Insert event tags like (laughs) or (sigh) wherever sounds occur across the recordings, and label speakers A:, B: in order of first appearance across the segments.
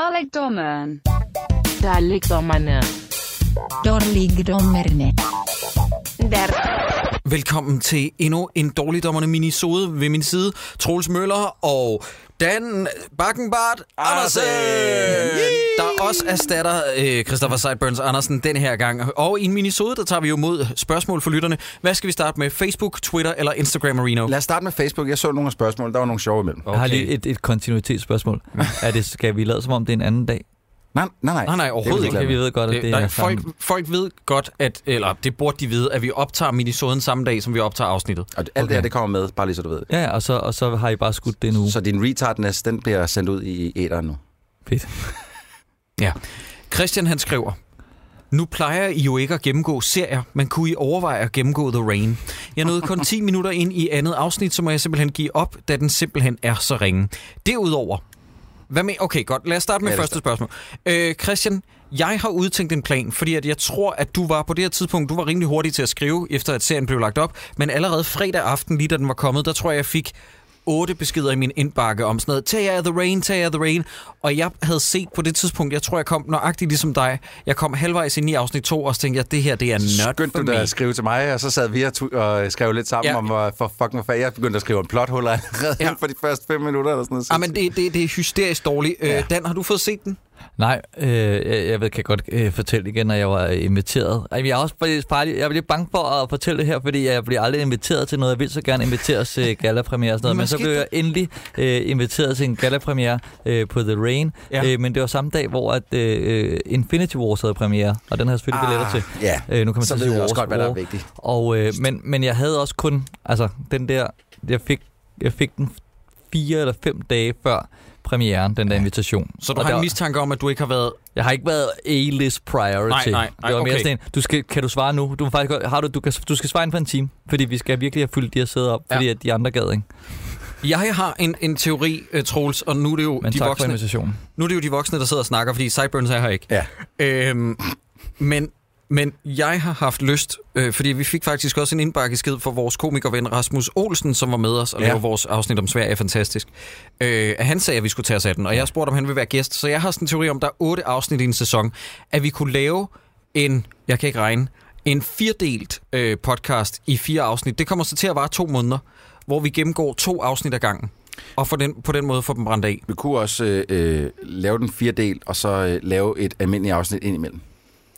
A: Dalekdommeren.
B: Der ligger dommerne.
C: Dårligdommerne.
D: Velkommen til endnu en dårligdommerne minisode ved min side. Troels Møller og Dan Bakkenbart Andersen, der også erstatter øh, Christopher Sideburns Andersen den her gang. Og i en minisode, der tager vi jo mod spørgsmål for lytterne. Hvad skal vi starte med? Facebook, Twitter eller Instagram, Marino?
E: Lad os starte med Facebook. Jeg så nogle af spørgsmålene. Der var nogle sjove imellem.
F: Okay. Jeg har lige et,
E: (laughs)
F: et kontinuitetsspørgsmål. er det, skal vi lade som om, det er en anden dag?
E: Nej, nej, nej.
D: Nej, nej, overhovedet
E: Det er
D: ikke.
E: vi
F: Okay, vi ved godt, at det,
D: nej,
F: er
D: folk,
F: samme.
D: folk ved godt, at, eller det burde de vide, at vi optager minisoden samme dag, som vi optager afsnittet.
E: Og alt okay. det her, det kommer med, bare lige så du ved. det.
F: Ja, ja, og så, og så har I bare skudt det en uge.
E: Så din retardness, den bliver sendt ud i æderen nu.
F: Fedt.
D: Ja. Christian han skriver, nu plejer I jo ikke at gennemgå serier, men kunne I overveje at gennemgå The Rain? Jeg nåede kun 10 minutter ind i andet afsnit, så må jeg simpelthen give op, da den simpelthen er så ringe. Derudover, hvad med, okay godt, lad os starte med
E: Ja,
D: ja,
E: lad os
D: første spørgsmål. Øh, Christian, jeg har udtænkt en plan, fordi at jeg tror, at du var på det her tidspunkt, du var rimelig hurtig til at skrive, efter at serien blev lagt op, men allerede fredag aften, lige da den var kommet, der tror jeg, jeg fik otte beskeder i min indbakke om sådan noget, tag jer af The Rain, tag jer af The Rain, og jeg havde set på det tidspunkt, jeg tror, jeg kom nøjagtigt ligesom dig, jeg kom halvvejs ind i afsnit 2, og så tænkte jeg, det her, det er not
E: Skyndte
D: for
E: du
D: me.
E: dig at skrive til mig, og så sad vi og, tu- og skrev lidt sammen
D: Ja.
E: ja. om, hvor for fucking hvor fanden jeg begyndte at skrive om plothuller allerede
D: Ja.
E: ja. for de første fem minutter eller sådan noget.
D: Ah, men det, det, det er hysterisk dårligt. Ja. Øh, Dan, har du fået set den?
F: Nej, øh, jeg, jeg ved, kan godt øh, fortælle igen, når jeg var øh, inviteret. Ej, men jeg er også bare, bare lige- jeg er lidt bange for at fortælle det her, fordi jeg bliver aldrig inviteret til noget. Jeg vil så gerne inviteres
E: (laughs)
F: til gallapremiere og sådan noget, men så
D: Måske
F: blev jeg endelig øh, inviteret til en gallapremiere øh, på The Rain.
D: Ja.
F: Ja. Øh, men det var samme dag, hvor at, øh, Infinity Wars havde premiere, og den havde jeg selvfølgelig billetter til.
E: Ja,
F: Øh, nu kan
E: Ah.
F: man
E: så
F: så
E: ved
F: sige
E: jeg også
F: Wars
E: godt, hvad der er
F: War.
E: vigtigt.
F: Og, øh, men, men jeg havde også kun, altså den der, jeg fik, jeg fik den fire eller fem dage før premieren, den der invitation.
D: Så du
F: Og
D: har en
F: der-
D: mistanke om, at du ikke har været
F: Jeg har ikke været A-list priority.
D: Nej, nej, nej,
F: det var mere
D: okay.
F: sådan en, du skal, kan du svare nu? Du, må faktisk, godt- har du, du, kan, du skal svare inden for en time, fordi vi skal virkelig have fyldt de her sæder op,
D: Ja.
F: fordi at de andre gad, ikke?
D: Jeg har en, en teori, øh, Troels, og nu er, det jo
F: Men
D: de
F: tak for
D: voksne,
F: invitationen.
D: nu er det jo de voksne, der sidder og snakker, fordi Sideburns er her ikke.
E: Ja.
D: Øhm, men, men jeg har haft lyst, øh, fordi vi fik faktisk også en indbakkesked fra vores komikerven Rasmus Olsen, som var med os og ja.
E: Ja.
D: lavede vores afsnit om Sverige er fantastisk. Øh, at han sagde, at vi skulle tage os af den, og jeg spurgte, om han ville være gæst. Så jeg har sådan en teori om, der er otte afsnit i en sæson, at vi kunne lave en, jeg kan ikke regne, en firdelt øh, podcast i fire afsnit. Det kommer så til at vare to måneder, hvor vi gennemgår to afsnit ad gangen. Og for den, på den måde får dem brændt af.
E: Vi kunne også øh, øh, lave den fire del, og så øh, lave et almindeligt afsnit ind imellem.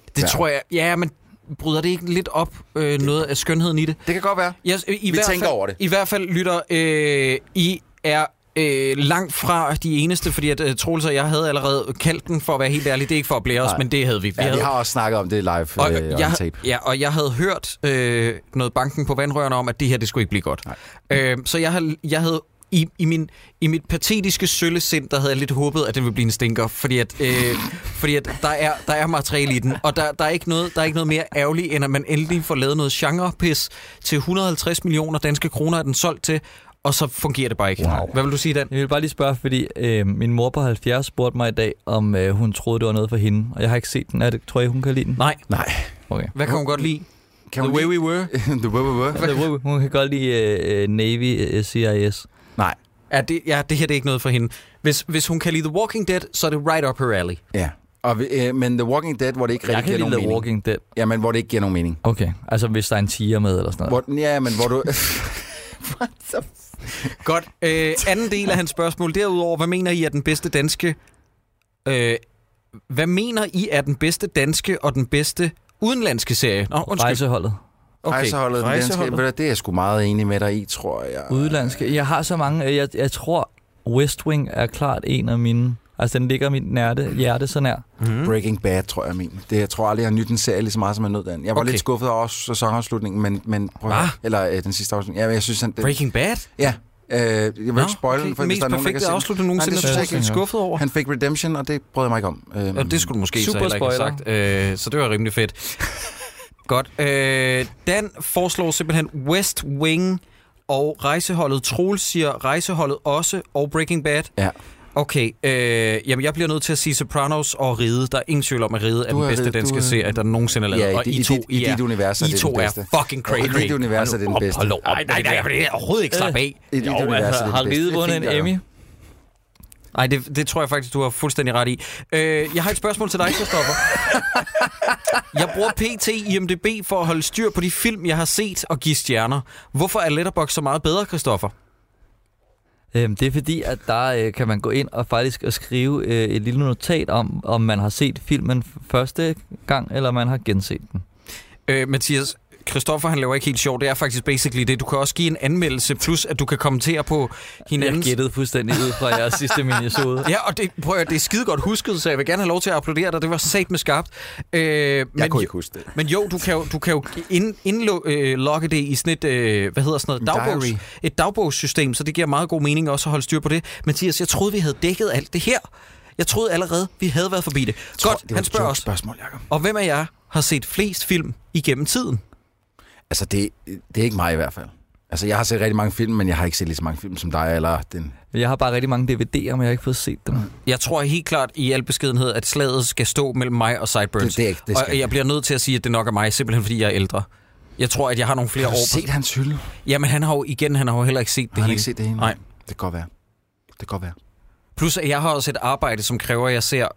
D: Det ja.
E: Ja.
D: tror jeg, ja, men bryder det ikke lidt op øh, noget af skønheden i det?
E: Det kan godt være.
D: Jeg, i vi
E: tænker
D: fald,
E: over det.
D: I hvert fald, lytter, øh, I er øh, langt fra de eneste, fordi at øh, Troels og jeg havde allerede kaldt den, for at være helt ærlig. Det er ikke for at blære os,
E: Nej.
D: men det havde vi. vi
E: Ja, vi
D: havde,
E: har også snakket om det live
D: og,
E: og, øh,
D: jeg,
E: on tape.
D: ja, og jeg havde hørt øh, noget banken på vandrørene om, at det her, det skulle ikke blive godt. Øh, så jeg havde, jeg havde i, i, min, I mit patetiske sølle sind, der havde jeg lidt håbet, at det ville blive en stinker, fordi at, øh, (laughs) fordi at der, er, der er materiale i den, og der, der, er ikke noget, der er ikke noget mere ærgerligt, end at man endelig får lavet noget genrepis til 150 millioner danske kroner, er den solgt til, og så fungerer det bare ikke. Wow. Hvad vil du sige, Dan?
F: Jeg vil bare lige spørge, fordi øh, min mor på 70 spurgte mig i dag, om øh, hun troede, det var noget for hende, og jeg har ikke set den. Er det, tror I, hun kan lide den?
D: Nej.
E: Nej.
F: Okay.
D: Hvad kan hun godt lide?
E: Kan
D: The
E: hun
D: way we
E: lide-
D: were.
E: (laughs) The way we were.
F: Altså, Hun kan godt lide øh, øh, Navy øh, CIS.
E: Nej.
D: Ja det, ja, det her det er ikke noget for hende. Hvis, hvis hun kan lide The Walking Dead, så er det right up her alley.
E: Ja. Og, vi- øh, men The Walking Dead, hvor det ikke
F: Jeg
E: rigtig giver
F: kan lide
E: nogen
F: The
E: mening.
F: Walking Dead.
E: Jamen, hvor det ikke giver nogen mening.
F: Okay, altså hvis der er en tiger med eller sådan noget.
E: Hvor, ja, men
D: (laughs)
E: hvor du...
D: Godt. Øh, anden del af hans spørgsmål derudover. Hvad mener I er den bedste danske... Øh, hvad mener I er den bedste danske og den bedste udenlandske serie? Nå, undskyld.
F: Rejseholdet.
E: Okay. Rejseholdet, den danske, ved du, det er jeg sgu meget enig med dig i, tror jeg.
F: Øh. Udlandske. Jeg har så mange. øh, Jeg, jeg tror, West Wing er klart en af mine. Altså, den ligger mit nærte, hjerte så
D: Altså,
F: nær.
E: Breaking Bad, tror jeg, min. Det, jeg tror aldrig, jeg har nyt en serie lige så meget, som jeg nød den. Jeg
D: Okay.
E: var okay. lidt skuffet over sæsonafslutningen, men, men prøv at
D: Hva?
E: høre. Eller øh, den sidste afslutning. Ja, men jeg synes, han... Den,
D: Breaking Bad?
E: Ja. Øh, jeg vil ikke spoil den, for hvis
D: Mest
E: der er nogen, der kan
D: perfekte
E: se den.
D: afslutning
E: Nej,
D: nogensinde,
E: det
D: Nej, det er
E: synes jeg
D: jeg
E: ikke,
D: ikke
E: han skulle.
D: skuffet over.
E: Han fik Redemption, og det brød jeg mig ikke om. Øhm,
D: Og det skulle du måske så
F: Super
D: heller ikke have
F: spoiler.
D: sagt. Øh, så det var rimelig fedt. Godt. Øh, Dan foreslår simpelthen West Wing og rejseholdet. Troels siger rejseholdet også, og Breaking Bad.
E: Ja.
D: Okay, øh, jamen jeg bliver nødt til at sige Sopranos og Ride. Der er ingen tvivl om, at Ride er
E: Du
D: den
E: er-
D: bedste
E: du
D: danske
E: er-
D: serie, der nogensinde er lavet.
E: Ja, i
D: og
E: dit-
D: I to,
E: i dit- i
D: I er-
E: dit univers er
D: I
E: det
D: to
E: den
D: er
E: bedste.
D: fucking cray
E: Og i dit univers er det den bedste.
D: Hold nu op, hold op. Nej, nej, nej, jeg vil overhovedet ikke slappe af.
E: I dit
F: Jo,
E: univers er
F: altså,
E: det den
F: har
E: bedste. Det
F: Ride
E: er
F: vundet
E: fint,
F: en
E: Jacob.
F: Emmy?
D: Nej, det, det tror jeg faktisk, du har fuldstændig ret i. Øh, jeg har et spørgsmål til dig, Christoffer. jeg bruger PT IMDB for at holde styr på de film, jeg har set og give stjerner. Hvorfor er Letterboxd så meget bedre, Christoffer?
F: Øhm, det er fordi, at der øh, kan man gå ind og faktisk og skrive øh, et lille notat om, om man har set filmen f- første gang, eller man har genset den.
D: Øh, Mathias, Christoffer han laver ikke helt sjov. Det er faktisk basically det. Du kan også give en anmeldelse, plus at du kan kommentere på
F: Jeg
D: hinandens...
F: gættede fuldstændig ud fra jeres sidste minisode.
D: Ja, og det, prøv at, høre, det er skide godt husket, så jeg vil gerne have lov til at applaudere dig. Det var sat med skarpt. Øh, jeg
E: Jeg kunne ikke huske det.
D: Men jo, du kan jo, du kan jo ind, indlogge det i sådan et, øh, hvad hedder sådan noget,
E: En
D: dagbogs,
E: diary.
D: et dagbogssystem, så det giver meget god mening også at holde styr på det. Mathias, jeg troede, vi havde dækket alt det her. Jeg troede allerede, vi havde været forbi det. godt,
E: det
D: han spørger os,
E: spørgsmål, Jacob.
D: og hvem af jer har set flest film igennem tiden?
E: Altså, det, det er ikke mig i hvert fald. Altså, jeg har set rigtig mange film, men jeg har ikke set lige så mange film som dig, eller den...
F: Jeg har bare rigtig mange DVD'er, men jeg har ikke fået set dem.
D: Jeg tror helt klart i al beskedenhed, at slaget skal stå mellem mig og Sideburns.
E: Det- det er ikke- det skal
D: og jeg
E: ikke.
D: bliver nødt til at sige, at det nok er mig, simpelthen fordi jeg er ældre. Jeg tror, at jeg har nogle flere år.
E: Har du
D: på-
E: set hans hylde?
D: Jamen, han har jo igen, han har jo heller ikke set det
E: Det har
D: hele.
E: han ikke set det ene?
D: Nej.
E: Det kan godt være. Det kan godt være.
D: Plus, at jeg har også et arbejde, som kræver, at jeg ser...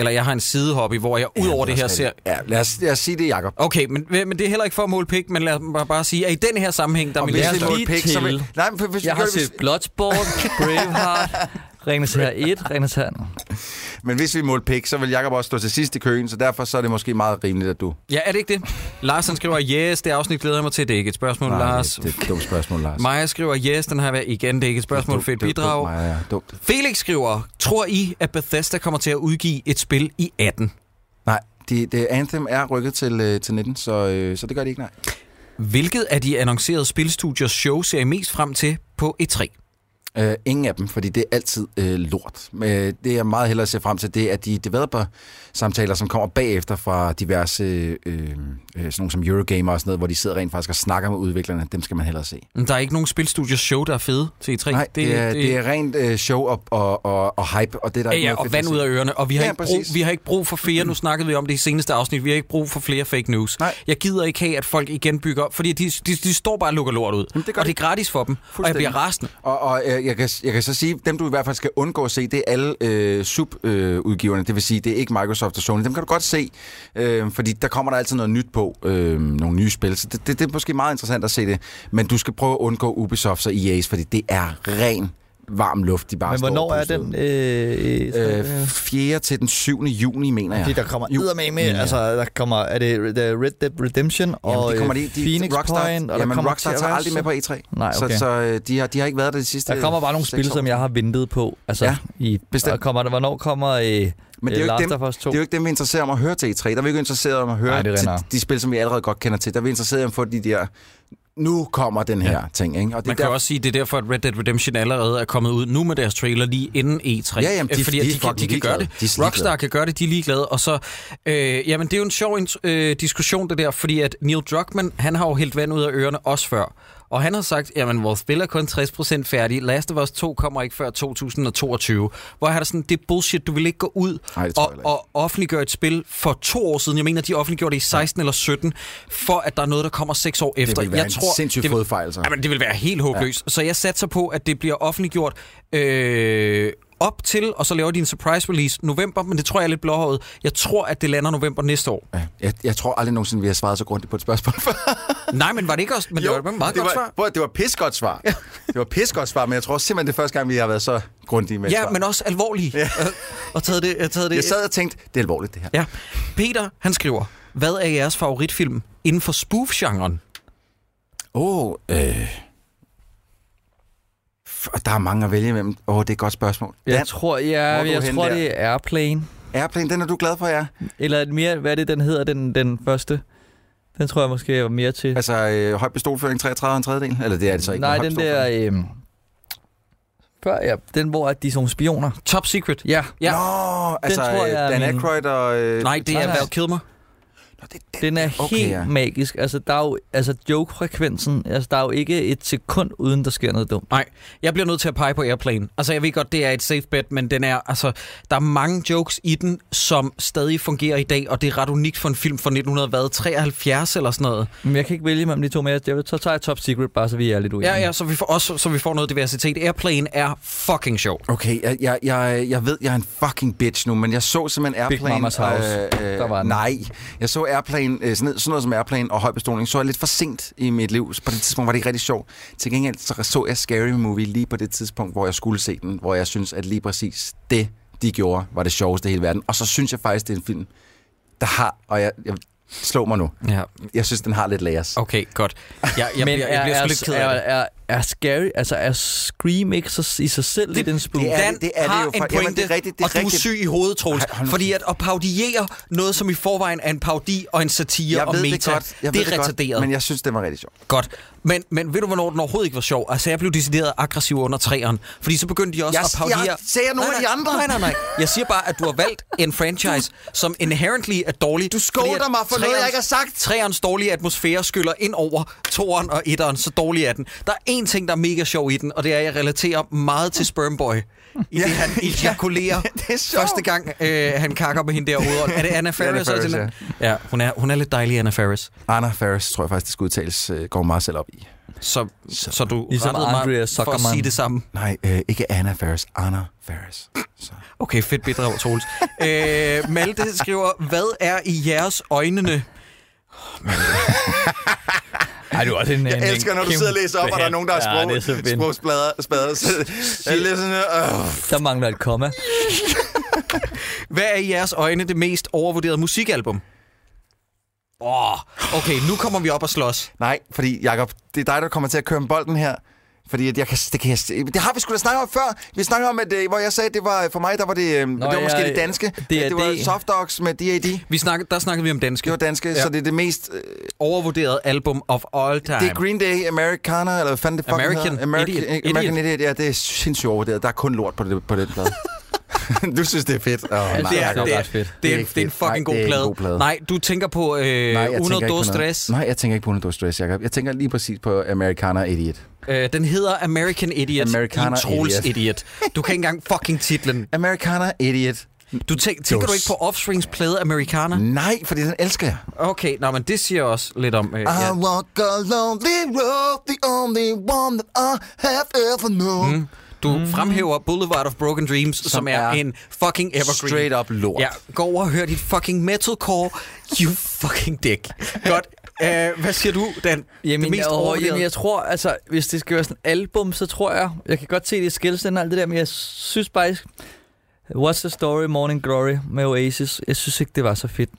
D: Eller jeg har en sidehobby, hvor jeg ud over
E: Ja,
D: det her
E: også
D: ser...
E: rigtigt. Ja, lad os, lad os sige det, Jacob.
D: Okay, men, men det er heller ikke for at måle pik, men lad mig bare sige, at i den her sammenhæng, der er min
F: hvis
D: lærerstol-
F: det lige til-
E: Nej, men for- hvis vi
F: Jeg har
E: gør det,
F: set Bloodsport,
E: (laughs)
F: Braveheart, Ringens Herre 1, Ringens Herre...
A: Ah,
E: hvis, men hvis vi målte pik, så vil Jacob også stå til sidst i køen, så derfor så er det måske meget rimeligt, at du...
D: Ja, er det ikke det? Lars han skriver, yes, det afsnit glæder jeg mig til, det er ikke et spørgsmål, Nej, Lars.
E: Det, det er et dumt spørgsmål, Lars.
D: Maja skriver, yes, den har været igen, det er ikke et spørgsmål, fedt
E: Det er dumt,
D: bidrag.
E: Maja, ja. Dumt.
D: Felix skriver, tror I, at Bethesda kommer til at udgive et spil i 18?
E: Nej, det, det, Anthem er rykket til, øh, til 19, så, øh, så det gør de ikke, nej.
D: Hvilket af de annoncerede spilstudios show ser I mest frem til på E E3?
E: Øh, ingen af dem, fordi det er altid øh, lort. Men øh, det jeg meget hellere ser frem til, det er de developer-samtaler, som kommer bagefter fra diverse, øh, øh, sådan nogle som Eurogamer og sådan noget, hvor de sidder rent faktisk og snakker med udviklerne. Dem skal man hellere se.
D: Men Der er ikke nogen spilstudios show, der er fede til E E3.
E: Nej, det, det, er, det er rent øh, show og, og, og, og hype, og det er der
D: Ja,
E: ikke
D: ja,
E: noget
D: og
E: fedt
D: vand
E: at se.
D: ud af ørerne. Og vi har, ja,
E: Ja,
D: ikke brug,
E: præcis.
D: vi har ikke brug for flere. Nu snakkede vi om det i seneste afsnit. Vi har ikke brug for flere fake news.
E: Nej.
D: Jeg gider ikke have, at folk igen bygger op, fordi de, de, de står bare og lukker lort ud.
E: Jamen, det gør
D: og det
E: de.
D: er gratis for dem. Og jeg
E: Fuldstændig.
D: bliver rasende.
E: Og, og øh, jeg, kan, jeg kan så sige, dem du i hvert fald skal undgå at se, det er alle øh, sub-udgiverne. det vil sige, det er ikke Microsoft og Sony. Dem kan du godt se, øh, fordi der kommer der altid noget nyt på. Øh, nogle nye spil. Så det, det, det er måske meget interessant at se det. Men du skal prøve at undgå Ubisoft og EA's, fordi det er ren varm luft, de bare
A: Men
E: står
A: hvornår
E: og
A: er
E: puster
A: den?
E: ud.
A: Øh, øh,
E: Øh, 4. til den 7. juni, mener jeg.
A: fordi der kommer
E: Jo.
A: eddermame med, altså der kommer, er det det er Red Dead Redemption og
E: Jamen, det kommer
A: øh,
E: de, de,
A: Phoenix
E: Rockstar,
A: Point, og
E: jamen,
A: der kommer
E: Rockstar
A: til at
E: tager
A: være
E: aldrig med på E3.
A: Nej, okay.
E: Så, så øh, de, har, de har ikke været der de sidste
F: Der kommer bare nogle
E: seks
F: spil,
E: år.
F: som jeg har ventet på. Altså,
E: Ja,
F: i,
E: bestemt.
F: og kommer, der- hvornår kommer øh,
E: Men det er jo
F: Last
E: ikke dem,
F: of Us 2?
E: Det er jo ikke dem, vi er interesseret om at høre til E3. Der er vi ikke interesseret om at høre Nej,
F: Nej, det er
E: til
F: rigtigt.
E: de spil, som vi allerede godt kender til. Der er vi interesseret om at få de der... Nu kommer den her ja. ting, ikke? Og
D: Man
E: der,
D: kan også sige, at det er derfor, at Red Dead Redemption allerede er kommet ud nu med deres trailer lige inden E3.
E: Ja, jamen, de-
D: Øh, fordi at
E: de er
D: de, kan, de
E: fucking
D: kan gøre det.
E: ligeglade. De er så
D: Rockstar
E: ligeglade.
D: kan gøre det, de er ligeglade. Og så, øh, jamen, det er jo en sjov øh, diskussion, det der, fordi at Neil Druckmann, han har jo hældt vand ud af ørerne også før. Og han har sagt, jamen, vores spil er kun 60% færdig. Last of Us 2 kommer ikke før 2022. Hvor jeg har det sådan, det er bullshit, du vil ikke gå ud
E: Nej, det tror jeg
D: og,
E: heller ikke.
D: og offentliggøre et spil for to år siden. Jeg mener, de offentliggjorde det i 16 eller 17, for at der er noget, der kommer seks år efter.
E: det vil være
D: jeg
E: en
D: tror,
E: sindssyg
D: det vil-
E: fodfejl, så.
D: Jamen, det vil være helt håbløst. Ja. Så jeg satser på, at det bliver offentliggjort øh, op til, og så laver de en surprise release november, men det tror jeg er lidt blåhåret. Jeg tror, at det lander november næste år.
E: Ja, jeg, jeg tror aldrig nogensinde, vi har svaret så grundigt på et spørgsmål (laughs) før.
D: Nej, men var det ikke også? Men jo, det var et meget
E: det
D: godt
E: var,
D: svar.
E: Prøv, at- det var pisgodt svar. det var pisgodt svar, men jeg tror simpelthen, det er første gang, vi har været så grundige med et
D: Ja,
E: svar.
D: men også alvorlige. Ja. (laughs) og taget det, jeg taget det.
E: Jeg sad og tænkte, det er alvorligt, det her.
D: Ja. Peter, han skriver, hvad er jeres favoritfilm inden for spoof-genren?
E: Åh, oh, øh... F- Der er mange at vælge imellem. Åh, oh, det er et godt spørgsmål.
F: Jeg
E: Dan,
F: tror,
E: Hvor er
F: ja,
E: du
F: jeg
E: henne
F: tror
E: der?
F: det er Airplane.
E: Airplane, den er du glad for, ja?
F: Eller et mere, hvad er det, den hedder, den, den første? Den tror jeg måske, jeg var mere til.
E: Altså, øh, høj pistolføring 33 og en tredjedel? Eller det er det så Altså, ikke.
F: Nej,
E: men høj
F: den der... Øh, før, ja, den, hvor at de er sådan nogle spioner.
D: Top Secret.
F: Ja,
D: Ja.
E: Nå, altså
F: tror
E: øh,
F: jeg er
E: Dan
F: min-
E: Aykroyd og... Øh,
D: Nej, det
F: Nej,
D: er
F: nej.
D: Val Kilmer.
E: Nå, det er den.
F: Den er
E: Okay,
F: okay, helt
E: ja.
F: ja. magisk. Altså, der er jo, altså joke-frekvensen, altså, der er jo ikke et sekund, uden der sker noget dumt.
D: Nej, jeg bliver nødt til at pege på Airplane. Altså, jeg ved godt, det er et safe bet, men den er, altså, der er mange jokes i den, som stadig fungerer i dag, og det er ret unikt for en film fra 1973 eller sådan noget.
F: Men jeg kan ikke vælge mellem de to mere. Jeg vil, så tager jeg Top Secret, bare så vi er lidt uenige.
D: Ja, ja, så vi får, også, så vi får noget diversitet. Airplane er fucking sjov.
E: Okay, jeg, jeg, jeg, jeg ved, jeg er en fucking bitch nu, men jeg så simpelthen Airplane...
F: Mamas House.
E: Øh,
F: Der var den.
E: Nej, jeg så Airplane, øh, sådan, noget, sådan noget som Airplane og højbestoling, så jeg lidt for sent i mit liv. Så På det tidspunkt var det ikke rigtig sjovt. Til gengæld så, så jeg Scary Movie lige på det tidspunkt, hvor jeg skulle se den, hvor jeg synes, at lige præcis det, de gjorde, var det sjoveste i hele verden. Og så synes jeg faktisk, det er en film, der har... Og jeg, jeg slå mig nu.
D: Ja,
E: Jeg synes, den har lidt layers.
D: okay, godt. Jeg, jeg, jeg,
F: Men
D: bliver, jeg bliver
F: er,
D: sgu lidt ked
F: er,
D: af det.
F: er, er, scary, altså er Scream ikke så, i sig selv lidt en spook?
E: det er-
D: Dan
E: det
D: har
E: jo
D: en
E: for-
D: pointe,
E: jamen, det er rigtigt, det er
D: og du er
E: rigtigt.
D: syg i hovedet, Troels.
E: Ej, hold nu
D: fordi at
E: kæft.
D: at parodiere noget, som i forvejen er en parodi og en satire og meta,
E: ved
D: det er retarderet.
E: godt, men jeg synes, det var rigtig sjovt.
D: Godt. Men, men ved du, hvornår den overhovedet ikke var sjov? Altså, jeg blev decideret aggressiv under træeren. Fordi så begyndte de også
E: Jeg-
D: at parodiere...
E: jeg ser nogle
D: nej,
E: af de andre.
D: Nej, nej, nej. Jeg siger bare, at du har valgt en franchise, som inherently er dårlig. Du
E: skolder mig for noget, jeg ikke har sagt.
D: Træerens dårlige atmosfære skyller ind over toeren og etteren. Så dårlig er den. Der er én ting, der er mega sjov i den, og det er, at jeg relaterer meget til Spermboy. I det,
E: (laughs)
D: han ejakulerer
E: det er sjovt.
D: første gang, øh, han kakker på hende derude. Er det Anna Faris?
E: Faris,
D: ja. ja hun, er, hun er lidt dejlig, Anna Faris.
E: Anna Faris, tror jeg faktisk, det skal udtales, øh, går meget selv op i.
D: Så, så, så du
F: Ligesom
D: rettede mig
F: Andrea
D: for at
F: Zuckerman.
D: sige det samme.
E: Nej, øh, ikke Anna Faris, Anna Faris. Så.
D: Okay, fedt bidrag,
E: (laughs)
D: Troels. øh, Malte skriver, hvad er i jeres øjnene?
F: Ej, du er også en, en
E: Jeg elsker, når du
F: kæmpe-
E: sidder og læser op, og der er nogen, der har
F: Ja, det er så
E: sprog,
F: fedt.
E: sprogsplader. Spader, så, jeg er lidt sådan, øh.
F: Der mangler et komma.
D: Hvad er i jeres øjne det mest overvurderede musikalbum? Åh, oh, okay, nu kommer vi op og slås.
E: Nej, fordi Jacob, det er dig, der kommer til at køre med bolden her. Fordi at jeg kan, det, kan jeg, det har vi sgu da snakket om før. Vi snakkede om, at, øh, hvor jeg sagde, at det var for mig, der var det, øh, Nå, det var
F: ja,
E: måske
F: øh,
E: det danske.
F: det er
E: at det var
F: det.
E: Softdogs med D.A.D.
D: Vi snakkede, der snakkede vi om danske.
E: Det var danske, ja. så det er det mest... Øh,
D: Overvurderet album of all time.
E: Det er Green Day, Americana, eller hvad fanden det fucking
D: American
E: hedder. American
D: Idiot.
E: Idiot. American Idiot. Ja, det er sindssygt overvurderet. Der er kun lort på, det, på den
D: (laughs)
E: plade. du synes, det er fedt. Oh, ja,
F: det er- det er ret fedt.
D: Det
E: Det
D: er,
E: er
D: det
E: ikke
D: er, det er en
E: fedt.
D: fucking
E: Nej, det
D: god,
E: er ikke en
D: plade.
E: god plade.
D: Nej, du tænker på øh, Uno Dos Stress.
E: Nej, jeg tænker ikke på Uno Dos Stress, Jacob. Jeg tænker lige præcis på Americana Idiot.
D: Øh, den hedder American Idiot.
E: Americana
D: Din Troels
E: Idiot.
D: Idiot. Du kan ikke engang fucking titlen.
E: (laughs) Americana Idiot.
D: Du tænker, tænker du
E: Dos. Mm.
D: ikke på Offsprings plade Americana?
E: Nej, fordi den elsker jeg.
D: Okay, nå, men det siger også lidt om... Øh,
E: I
D: ja.
E: walk a lonely road, the only one that I have ever known.
D: Hmm,
E: Mm.
D: Du fremhæver Boulevard of Broken Dreams, som, som er,
E: er
D: en fucking evergreen.
E: Straight up lort.
D: Ja, gå over og hør dit fucking metalcore. You fucking dick.
E: (laughs)
D: Godt. Uh, hvad siger du, Dan?
F: Jamen,
D: det mest
F: jeg,
D: overvurderede?
F: jamen, jeg tror, altså, hvis det skal være sådan et album, så tror jeg, jeg kan godt se det i skilsen og alt det der, men jeg synes faktisk, What's the Story, Morning Glory med Oasis, jeg synes ikke, det var så fedt.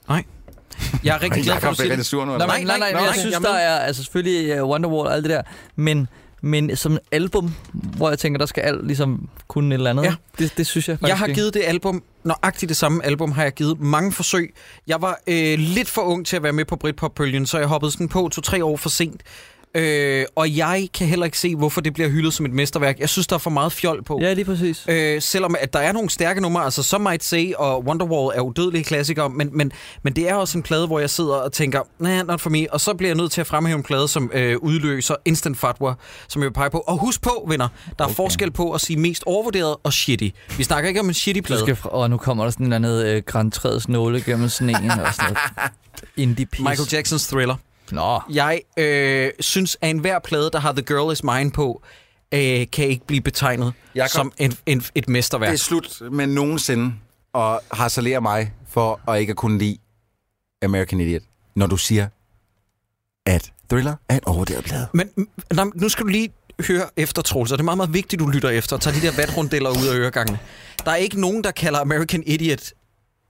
D: jeg er rigtig glad for, at
E: Jacob
D: du
E: bliver
D: siger
E: rigtig
D: det.
E: sur nu.
F: Nå,
E: eller?
D: Nej,
F: nej,
D: nej,
F: nej, nej, nej, jeg
D: nej,
F: synes,
D: jamen.
F: der er altså, selvfølgelig uh, Wonderwall og alt det der, men, men som album, hvor jeg tænker, der skal alt ligesom kunne et eller andet,
D: Ja.
F: ja. det, det synes jeg faktisk
D: Jeg har
F: ikke.
D: givet det album, nøjagtigt det samme album, har jeg givet mange forsøg. Jeg var øh, lidt for ung til at være med på Britpop-bølgen, så jeg hoppede sådan på to-tre år for sent. Øh, og jeg kan heller ikke se, hvorfor det bliver hyldet som et mesterværk. Jeg synes, der er for meget fjol på.
F: Ja, lige præcis.
D: Øh, selvom at der er nogle stærke numre, altså som Might Say og Wonderwall er udødelige klassikere, men, men, men det er også en plade, hvor jeg sidder og tænker, nah, not for me, og så bliver jeg nødt til at fremhæve en plade, som øh, udløser Instant Fatwa, som jeg vil pege på. Og husk på, venner, der er okay. forskel på at sige mest overvurderet og shitty. Vi snakker ikke om en shitty
F: Du
D: plade.
F: skal fra, og nu kommer der sådan en eller anden øh, grantræets nåle gennem sneen og sådan noget.
D: (laughs)
F: Indie piece.
D: Michael Jacksons Thriller.
F: Nå.
D: Jeg øh, synes, at enhver plade, der har The Girl Is Mine på, øh, kan ikke blive betegnet
E: Jakob.
D: som en, en, et mesterværk.
E: Det er slut med nogensinde at harcelere mig for at ikke at kunne lide American Idiot, når du siger, at Thriller er et overvurderet blad.
D: Men m- nå, men nu skal du lige høre efter, Troels, og det er meget, meget vigtigt, du lytter efter og tager de der vatrundeller ud af øregangene. Der er ikke nogen, der kalder American Idiot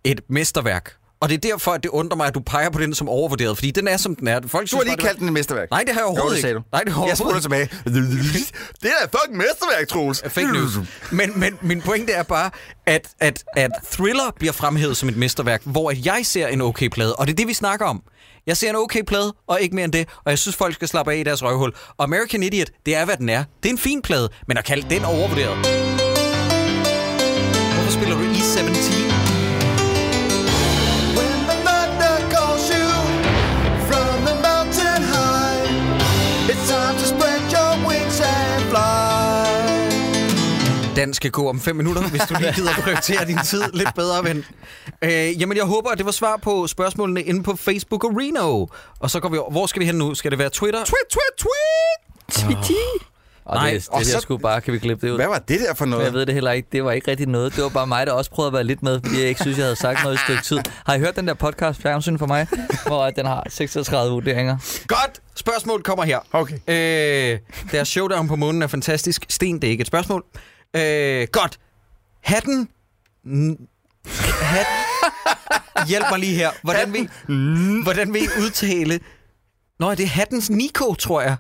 D: et mesterværk. Og det er derfor, at det undrer mig, at du peger på den som overvurderet, fordi den er, som den er. Folk
E: Du har
D: synes
E: lige
D: bare, det var-
E: kaldt den et mesterværk.
D: Nej, det har jeg
E: Jo, det
D: overhovedet
E: sagde
D: ikke.
E: du.
D: Nej, det har jeg
E: Jeg spurgte
D: overhovedet
E: tilbage. Det er da fucking mesterværk, Troels.
D: ikke. Fake news. Men, men min pointe er bare, at, at, at Thriller bliver fremhævet som et mesterværk, hvor at jeg ser en okay plade, og det er det, vi snakker om. Jeg ser en okay plade, og ikke mere end det, og jeg synes, folk skal slappe af i deres røvhul. Og American Idiot, det er, hvad den er. Det er en fin plade, men at kalde den overvurderet. Hvorfor spiller du E17?
E: When the thunder calls you
D: dans skal gå om 5 minutter, hvis du lige gider prioritere din tid lidt bedre, ven. Øh, jamen, jeg håber, at det var svar på spørgsmålene inde på Facebook og Reno. Og så går vi over. Hvor skal vi hen nu? Skal det være Twitter?
E: Tweet, tweet, tweet!
F: Og
D: Nej,
F: Nej, det, det,
D: og
F: det
D: så-
F: så... skulle bare, kan vi klippe det ud?
E: Hvad var det der for
F: Men jeg
E: noget?
F: ved det heller ikke. Det var ikke rigtig noget. Det var bare mig, der også prøvede at være lidt med, fordi jeg ikke synes, jeg havde sagt noget i et stykke tid. Har I hørt den der podcast, Fjernsyn for mig, hvor at den har 36 vurderinger?
D: Godt! Spørgsmål kommer her.
E: Okay.
D: Øh, deres showdown på månen er fantastisk. Sten, det er ikke et spørgsmål. Øh, godt. Hatten... N- Hatten... Hjælp mig lige her. Hvordan vil, hvordan vil I udtale... Nå, det er hattens Niko, tror jeg.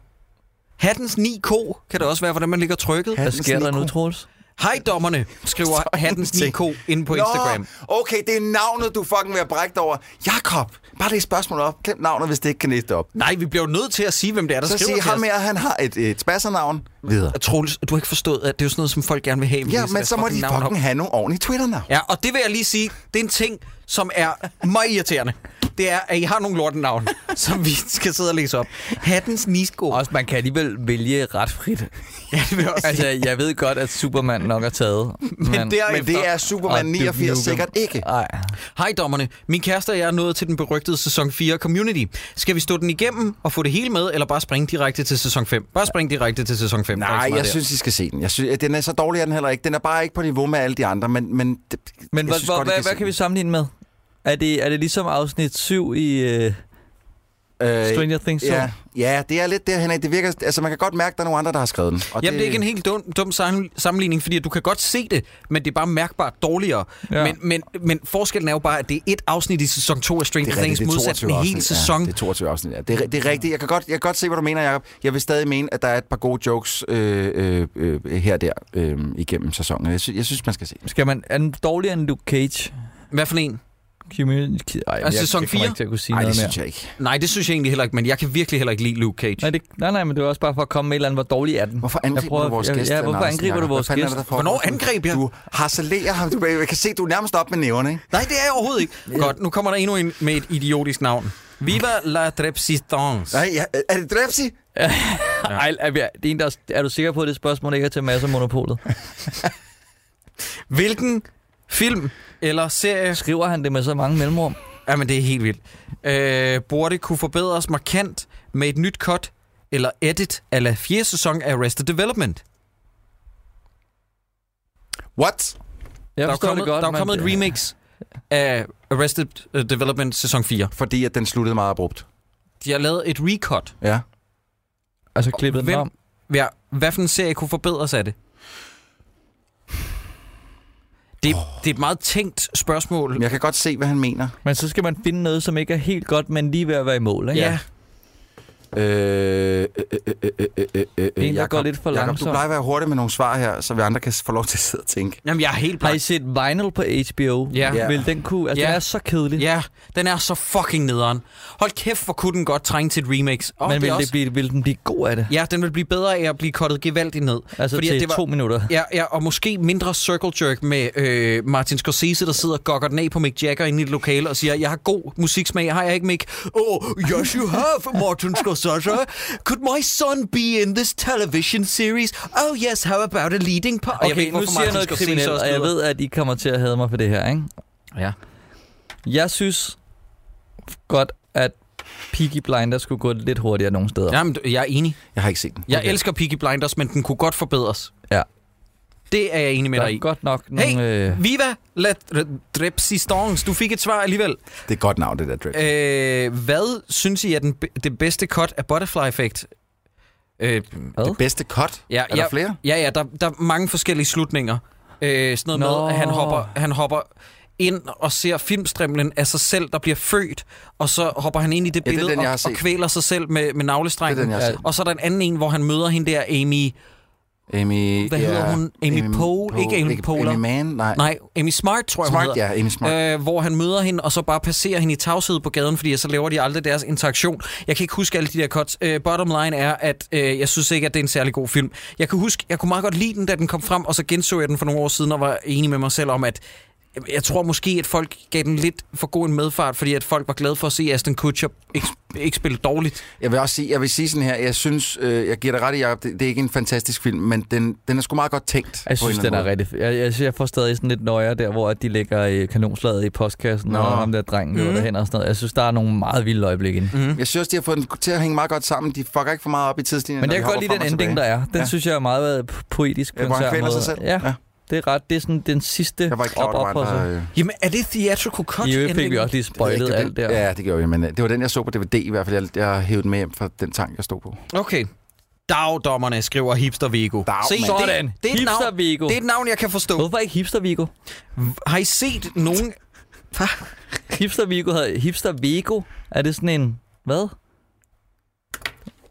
D: Hattens Niko kan det også være, hvordan man ligger trykket.
F: Hvad
E: Hattens
F: sker der nu,
E: Niko.
F: Troels?
D: Hej dommerne, skriver hattens Niko inde på Instagram.
E: Nå, okay, det er navnet, du fucking vil have brægt over. Jakob, bare det spørgsmål op. Glem navnet, hvis det ikke kan læse det op.
D: Nej, vi bliver jo nødt til at sige, hvem det er, der
E: Så
D: skriver
E: sig
D: til
E: ham
D: os.
E: her, han har et, et spassernavn. Videre.
D: Troels, du har ikke forstået, at det er jo sådan noget, som folk gerne vil have. vi
E: Ja,
D: læser
E: men
D: deres
E: så må de
D: navn op.
E: fucking have nogle ordentlige Twitter-navn.
D: Ja, og det vil jeg lige sige, det er en ting, som er meget irriterende. Det er, at I har nogle lortenavn, (laughs) som vi skal sidde og læse op. Hattens Nisko.
F: Også, man kan alligevel vælge ret frit.
D: Ja, det vil jeg også
F: Altså,
D: sige.
F: jeg ved godt, at Superman nok er taget.
D: Men derefter...
E: Men det er Superman
F: Og Duke
E: 89
F: Nukem.
E: sikkert ikke.
F: Nej.
D: Hej dommerne, min kæreste og jeg er nået til den berygtede sæson 4 Community. Skal vi stå den igennem og få det hele med, eller bare springe direkte til sæson 5? Bare springe direkte til sæson 5.
E: Nej, jeg synes, I skal se den. Jeg synes, den er så dårlig, er den heller ikke. Den er bare ikke på niveau med alle de andre, men... Men, det-
F: Men
E: jeg
F: hvor,
E: synes
F: hvor,
E: godt, I
F: hvad,
E: se
F: hvad kan vi sammenligne med? Er det, er det ligesom afsnit 7 i uh,
E: den. Øh,
F: Stranger Things 2?
E: Ja, ja, det er lidt derhen af. Det virker, altså man kan godt mærke, at der er nogle andre, der har skrevet den. Og
D: Jamen, det er ikke en helt dum, dum sam- sammenligning, fordi at du kan godt se det, men det er bare mærkbart dårligere. Ja.
F: Ja.
D: Men, men, men forskellen er jo bare, at det er et afsnit i sæson 2 af
E: det
D: Stranger
E: er rigtigt,
D: Things,
E: det er
D: modsat
E: 22
D: en hel
E: afsnit.
D: sæson.
E: Ja, det er 22 afsnit, ja. Det er, det er rigtigt. Jeg kan, godt, jeg kan godt se, hvad du mener, Jacob. Jeg vil stadig mene, at der er et par gode jokes øh, øh, øh, her og der øh, igennem sæsonen. Jeg, sy- jeg synes, man skal se. den.
F: Skal man, er den dårligere end Luke Cage?
D: Hvad for en?
F: Community? Ej,
D: Altså,
F: jeg,
D: sæson
F: jeg
D: fire?
F: kommer ikke til at kunne sige
E: Nej,
F: noget
E: det
F: mere.
E: synes jeg ikke.
D: Nej, det synes jeg egentlig heller ikke, men jeg kan virkelig heller ikke lide Luke Cage. Nej,
F: Nej, det, nej, nej, men det var også bare for at komme med et eller andet, hvor dårlig er den.
E: Hvorfor
F: Jeg
E: angriber
F: prøver-
E: du vores
F: jeg-
E: gæst?
F: Ja,
E: Leonard
F: hvorfor
E: Andersen,
F: angriber du
E: Jacob?
F: vores
E: Hvad fanden er
F: gæst?
E: det, der foregår?
D: Hvornår angreb jeg?
E: Du harcelerer ham. Du, jeg kan se, du er nærmest op med næverne, ikke?
D: Nej, det er jeg overhovedet ikke. Godt, nu kommer der endnu en med et idiotisk navn. Viva la Trepsistance.
E: Nej, ja, er det Drepsi?
F: Ej, er, vi- det er, en, der, er du sikker på, at det spørgsmål ikke er til masser af monopolet?
D: Hvilken film eller serie...
F: Skriver han det med så mange mellemrum?
D: Jamen, det er helt vildt. Øh, burde kunne forbedres markant med et nyt cut eller edit af fjerde sæson af Arrested Development.
E: What?
F: Jeg
D: der er
F: forstår
D: kommet,
F: det godt.
D: der er
F: men- øh,
D: kommet et remix af Arrested øh, Development sæson 4.
E: Fordi at den sluttede meget abrupt.
D: De har lavet et recut.
E: Ja.
F: Altså klippet den
D: Hvem-
F: om.
D: Ja, hvad for en serie kunne forbedres af det? Det, oh. det er et meget tænkt spørgsmål.
E: Men Jeg kan godt se, hvad han mener.
F: Men så skal man finde noget, som ikke er helt godt, men lige ved at være i mål, ikke?
D: Ja.
E: Øh, øh, øh, øh, øh, øh, øh,
F: der
E: Jakob,
F: går lidt for
E: Jakob, du
F: langsomt.
E: plejer at være hurtig med nogle svar her, så vi andre kan få lov til at sidde og tænke.
D: Jamen, jeg er helt
F: Har I
D: blank.
F: set Vinyl på HBO?
D: Ja.
E: Ja.
F: Vil den kunne... Altså,
D: Ja.
F: den er så kedelig.
D: Ja, den er så fucking nederen. Hold kæft, hvor kunne den godt trænge til et remix. Oh,
F: men
D: det
F: vil,
D: er
F: det
D: også,
F: blive, vil den blive god af det?
D: Ja, den vil blive bedre af at blive kottet gevaldigt ned.
F: Altså
D: Fordi
F: til
D: det var-
F: to minutter.
D: Ja, ja, og måske mindre circle jerk med øh, Martin Scorsese, der sidder og gokker den af på Mick Jagger inde i et lokale og siger, jeg har god musiksmag, har jeg ikke Mick? Oh, yes you have, Martin Scorsese. Could my son be in this television series? Oh yes, how about a leading part? Og jeg ved
F: Okay,
D: ikke,
F: nu
D: hvorfor
F: siger jeg
D: Martin
F: noget
D: Scorsese
F: kriminelt,
D: også
F: og jeg
D: lyder-
F: ved, at I kommer til at hade mig for det her, ikke?
D: Ja.
F: Jeg synes godt, at Peaky Blinders skulle gå lidt hurtigere nogle steder.
D: Jamen, jeg er enig.
E: Jeg har ikke set den.
D: Jeg okay. elsker Peaky Blinders, men den kunne godt forbedres.
F: Ja.
D: Det er jeg enig med
F: Der
D: dig
F: er
D: i.
F: godt nok nogle...
D: Hey,
F: øh,
D: Viva la Drepsistance. Du fik et svar alligevel.
E: Det er et godt navn, det der drip.
D: Øh, hvad synes I er den, be- det bedste cut af Butterfly Effect? Øh,
E: Det bedste cut?
D: ja,
E: Er
D: ja,
E: der flere?
D: ja, ja, der, der er mange forskellige slutninger. Øh, sådan noget Nå.
F: Nå.
D: med, at han hopper, han hopper ind og ser filmstrimlen af sig selv, der bliver født, og så hopper han ind i det
E: Ja, det er
D: billede
E: den, jeg har
D: og, og
E: set.
D: kvæler sig selv med, med navlestrengen.
E: Det er den, jeg har
F: Ja.
E: set.
D: Og så er der en anden en, hvor han møder hende der, Amy...
E: Amy,
D: Hvad hedder hun? Amy Poehler? Ikke Amy Poehler.
E: Amy Mann? Nej.
D: Nej, Amy Smart, tror jeg, hun
E: Smart,
D: hedder.
E: ja. Amy Smart. Øh,
D: øh, hvor han møder hende, og så bare passerer hende i tavshed på gaden, fordi så laver de aldrig deres interaktion. Jeg kan ikke huske alle de der cuts. Øh, bottom line er, at øh, jeg synes ikke, at det er en særlig god film. Jeg kan huske, jeg kunne meget godt lide den, da den kom frem, og så genså jeg den for nogle år siden, og var enig med mig selv om, at øh, jeg tror måske, at folk gav den lidt for god en medfart, fordi at folk var glade for at se Aston Kutcher ikke, ikke spille dårligt.
E: Jeg vil også sige, jeg vil sige sådan her, jeg synes, øh, jeg giver dig ret i, Jacob, det, det er ikke en fantastisk film, men den, den er sgu meget godt tænkt.
F: Jeg synes,
E: på en
F: den
E: eller
F: er
E: anden
F: rigtig... f- Jeg, jeg, synes, jeg får stadig sådan lidt nøjer der, hvor at de lægger øh, kanonslaget i postkassen,
E: Nå.
F: Nå. og ham der drengen løber
D: Mm.
F: derhen og sådan noget. Jeg synes, der er nogle meget vilde øjeblikke inde.
E: måde. Jeg synes også, de har fået den til at hænge meget godt sammen. De fucker ikke for meget op i tidslinjen.
F: Men jeg kan godt lide den ending, der er. Den
E: Ja.
F: ja. synes jeg er meget øh, poetisk på
E: Ja,
F: en
E: hvor han
F: sær
E: kvæler
F: måde.
E: sig selv.
F: Ja, det er ret. Det er sådan den sidste
E: Jeg var ikke klar, over, at der
F: opoffer.
E: var en,
F: sig.
E: der, øh,
D: Jamen, er det theatrical cut?
F: I øvrigt fik vi
D: endingen?
F: også lige
E: det ved
F: spoilet
E: jeg
F: alt
E: ikke,
F: der.
E: den- Ja, det gjorde vi, men øh, det var den, jeg så på DVD i hvert fald. Jeg, jeg hævde den med hjem fra den tank, jeg stod på.
D: Okay. Dagdommerne skriver Hipster Vigo.
E: Dag, mand.
F: Sådan.
D: Det, det, er et
F: Hipster
D: navn,
F: Vigo.
D: det er et navn, jeg kan forstå.
F: Hvorfor ikke Hipster Vigo?
D: Har I set nogen...
F: Hipster Vigo havde... Hipster Vigo? Er det sådan en... Hvad?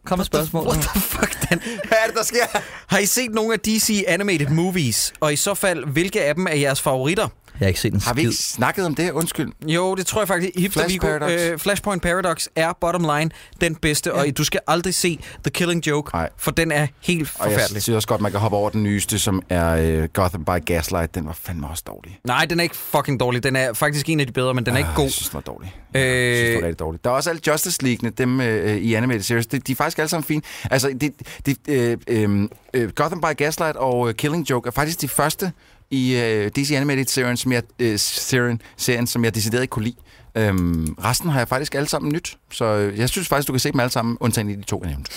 F: Kom med spørgsmål.
D: What the fuck, Dan?
E: Hvad er det, der sker?
D: Har I set nogle af DC animated movies? Og i så fald, hvilke af dem er jeres favoritter?
F: Jeg har ikke set en
E: Har vi
F: skid.
E: ikke snakket om det? Undskyld.
D: Jo, det tror jeg faktisk. Hipster
E: Flash
D: Vigo,
E: Paradox.
D: Øh, Flashpoint Paradox er bottom line den bedste, ja. og du skal aldrig se The Killing Joke,
E: Nej.
D: for den er helt
E: Og jeg
D: forfærdelig.
E: synes også godt, man kan hoppe over den nyeste, som er øh, Gotham by Gaslight. Den var fandme også dårlig.
D: Nej, den er ikke fucking dårlig. Den er faktisk en af de bedre, men den er ikke
E: Ah, Jeg
D: god.
E: synes, den var dårlig. Jeg synes, det var
D: Øh,
E: rigtig dårligt. Der er også alle Justice League-ene, dem øh, øh, i Animated Series. De, de er faktisk alle sammen fine. Altså, de, de, øh, øh, øh, Gotham by Gaslight og øh, Killing Joke er faktisk de første i øh, DC Animated Serien, som jeg, øh, serien, serien, som jeg decideret ikke kunne lide. Øhm, resten har jeg faktisk alle sammen nyt, så øh, jeg synes faktisk, du kan se dem alle sammen, undtagen i de to, jeg nævnte.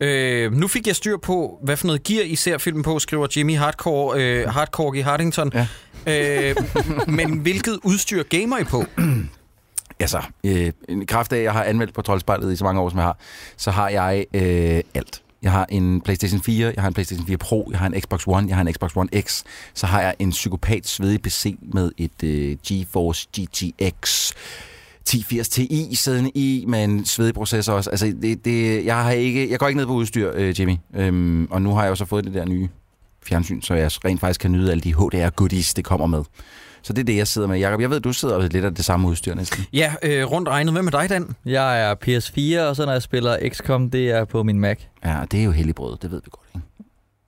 D: øh, nu fik jeg styr på, hvad for noget gear I ser filmen på, skriver Jimmy Hardcore, øh, Hardcore i Hardington.
E: Ja.
D: Øh, men hvilket udstyr gamer I på?
E: Altså, øh, en kraft af, at jeg har anmeldt på Troldspejlet i så mange år, som jeg har, så har jeg øh, alt. Jeg har en PlayStation 4, jeg har en PlayStation 4 Pro, jeg har en Xbox One, jeg har en Xbox One X, så har jeg en psykopat svedig PC med et øh, GeForce GTX 1080 Ti siddende i, med en svedig processor også. Altså, det, det, jeg, har ikke, jeg går ikke ned på udstyr, øh, Jimmy. Øhm, og nu har jeg jo så fået det der nye fjernsyn, så jeg rent faktisk kan nyde alle de HDR-goodies, det kommer med. Så det er det, jeg sidder med. Jakob, jeg ved, du sidder med lidt af det samme udstyr næsten.
D: Ja, øh, rundt regnet. Hvem er dig, Dan?
F: Jeg er PS4, og så når jeg spiller XCOM, det er på min Mac.
E: Ja, og det er jo helligbrød, det ved vi godt, ikke?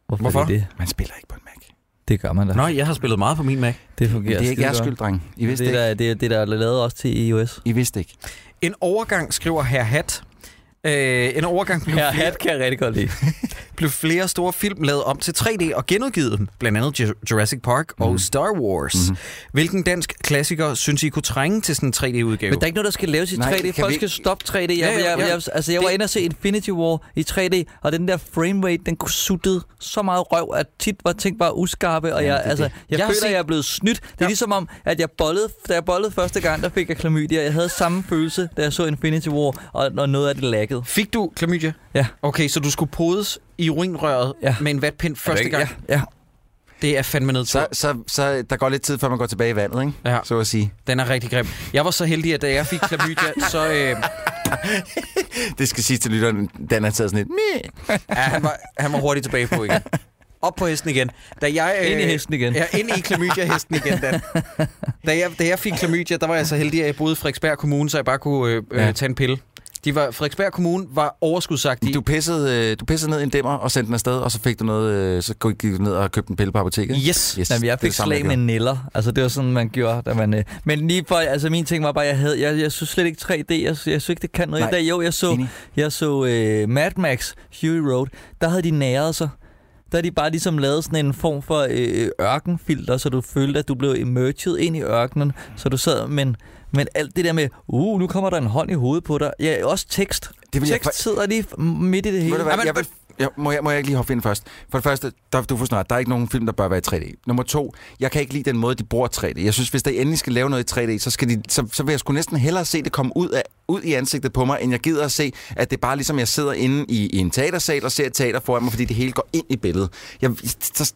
F: Hvorfor?
D: Hvorfor?
F: er Det, det?
E: Man spiller ikke på en Mac.
F: det gør man da.
D: Nå, jeg har spillet meget på min Mac.
F: Det fungerer
E: Ja, det er ikke
F: skide
E: jeres
F: godt.
E: skyld, dreng. I vidste
F: Det
E: ikke.
F: er, der, det, er, det er der lavet også til iOS.
E: I vidste ikke.
D: En overgang, skriver Herr Hat. Øh, en overgang blev,
F: Ja,
D: flere,
F: hat kan jeg rigtig godt lide.
D: blev flere store film lavet om til 3D og genudgivet dem, blandt andet Ju- Jurassic Park og
F: Mhm.
D: Star Wars. Mm-hmm. Hvilken dansk klassiker synes I kunne trænge til sådan en 3D-udgave?
F: Men der er ikke noget, der skal laves i
E: Nej,
F: 3D.
E: kan
F: Folk
E: vi-
F: skal stoppe 3D. Jeg,
D: Ja, ja,
F: jeg, jeg,
D: ja.
F: jeg, altså, jeg var
D: Det-
F: inde og se Infinity War i 3D, og den der frame rate, den suttede så meget røv, at tit var ting bare uskarpe, og
E: Jamen,
F: jeg,
E: det er
F: altså,
E: det.
F: jeg,
D: Jeg har
F: føler,
D: set-
F: at jeg er blevet snydt. Det er
D: Ja.
F: ligesom om, at jeg bollede, da jeg bollede første gang, der fik jeg klamydia. Jeg havde samme følelse, da jeg så Infinity War, og når noget af det laggede.
D: Fik du klamydia?
F: Ja.
D: Okay, så du skulle podes i urinrøret
F: Ja.
D: med en vatpind første gang?
F: Ja, ja.
D: Det er fandme nødt til.
E: Så, så, så der går lidt tid, før man går tilbage i vandet, ikke?
D: Ja.
E: Så at sige.
D: Den er rigtig grim. Jeg var så heldig, at da jeg fik klamydia, så... Øh,
E: Det skal sige til lytteren, den er taget sådan lidt... "Meh."
D: ja, han, var, han var hurtigt tilbage på igen. Op på hesten igen. Da jeg,
F: Ind i hesten igen.
D: Øh, Ja, ind i klamydia-hesten igen, Dan. Da jeg, da jeg fik klamydia, der var jeg så heldig, at jeg boede i Frederiksberg Kommune, så jeg bare kunne øh,
E: Ja.
D: ja. tage en pille. De var, Frederiksberg Kommune var overskudsagtige.
E: Du pissede, øh, du pissede ned i en dæmmer og sendte den afsted, og så fik du noget, øh, så gik du ned og købte en pille på apoteket.
D: Yes.
E: yes
F: Jamen,
E: det er
F: jeg
E: det
F: fik
E: samme,
F: slag med
E: gjorde.
F: niller. Altså, det var sådan, man gjorde, da man... Øh. Men lige for... Altså, min ting var bare, jeg havde... Jeg, jeg synes slet ikke 3D. Jeg, jeg synes ikke, det kan noget.
E: Nej.
F: Nej. Der, jo, jeg så,
E: Enig.
F: jeg så øh, Mad Max Fury Road. Der havde de næret sig. Der havde de bare ligesom lavet sådan en form for øh, ørkenfilter, så du følte, at du blev emerged ind i ørkenen. Så du sad... Men, men alt det der med, uh, nu kommer der en hånd i hovedet på dig. Ja, også tekst.
E: Det vil jeg
F: tekst sidder lige f- midt i det hele.
E: Ved du
D: Jamen,
E: hvad, jeg, vil, jeg, må, jeg, må jeg ikke lige hoppe ind først? For det første, der, du får snart, der er ikke nogen film, der bør være i 3D. Nummer to, jeg kan ikke lide den måde, de bruger 3D. Jeg synes, hvis der endelig skal lave noget i 3D, så, skal de, så, så vil jeg sgu næsten hellere se det komme ud, af, ud i ansigtet på mig, end jeg gider at se, at det bare ligesom, jeg sidder inde i, i en teatersal og ser et teater foran mig, fordi det hele går ind i billedet. Jeg, så,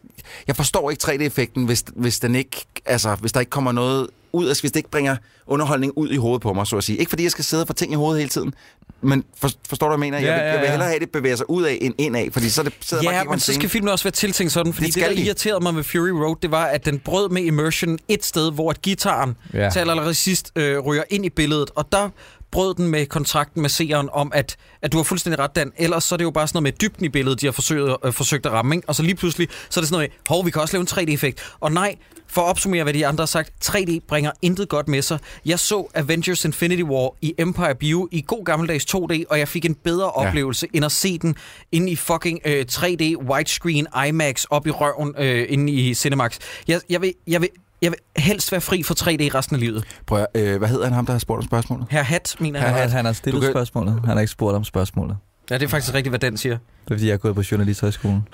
E: jeg forstår ikke 3D-effekten, hvis, hvis, den ikke, altså, hvis der ikke kommer noget ud, altså hvis det ikke bringer underholdning ud i hovedet på mig, så at sige. Ikke fordi jeg skal sidde og få ting i hovedet hele tiden, men for, forstår du, hvad jeg mener? jeg, vil,
F: Ja, ja,
E: jeg vil
F: ja.
E: hellere have, at det bevæger sig ud af end ind af, fordi så er det, sidder jeg bare og
D: Ja,
E: kigger på
D: men
E: en
D: så
E: scene.
D: skal filmen også være tiltænkt sådan, fordi
E: Det
D: det,
E: skal
D: det der
E: de.
D: irriterede mig med Fury Road, det var, at den brød med immersion et sted, hvor at gitaren ja.
F: Ja.
D: til allerede sidst øh, ryger ind i billedet, og der brød den med kontrakten med seeren om, at, at du har fuldstændig ret, Dan. Ellers så er det jo bare sådan noget med dybden i billedet, de har forsøgt, øh, forsøgt at ramme. Ikke? Og så lige pludselig, så er det sådan noget med, hov, vi kan også lave en 3D-effekt. Og nej, for at opsummere, hvad de andre har sagt, 3D bringer intet godt med sig. Jeg så Avengers Infinity War i Empire Bio i god gammeldags 2D, og jeg fik en bedre ja. oplevelse end at se den inde i fucking øh, 3D widescreen IMAX op i røven øh, inde i Cinemax. Jeg, jeg, vil, jeg, vil, jeg vil helst være fri for 3D resten af livet.
E: Prøv at, øh, hvad hedder han ham, der har spurgt om spørgsmålet?
D: Herr Hat, mener
F: Han,
D: jeg.
F: har- han har stillet
E: Du kan-
F: kan... spørgsmålet. Han har ikke spurgt om spørgsmålet.
D: Ja, det er faktisk rigtigt, hvad den siger.
F: Det er fordi, jeg er gået på journalisthøjskolen.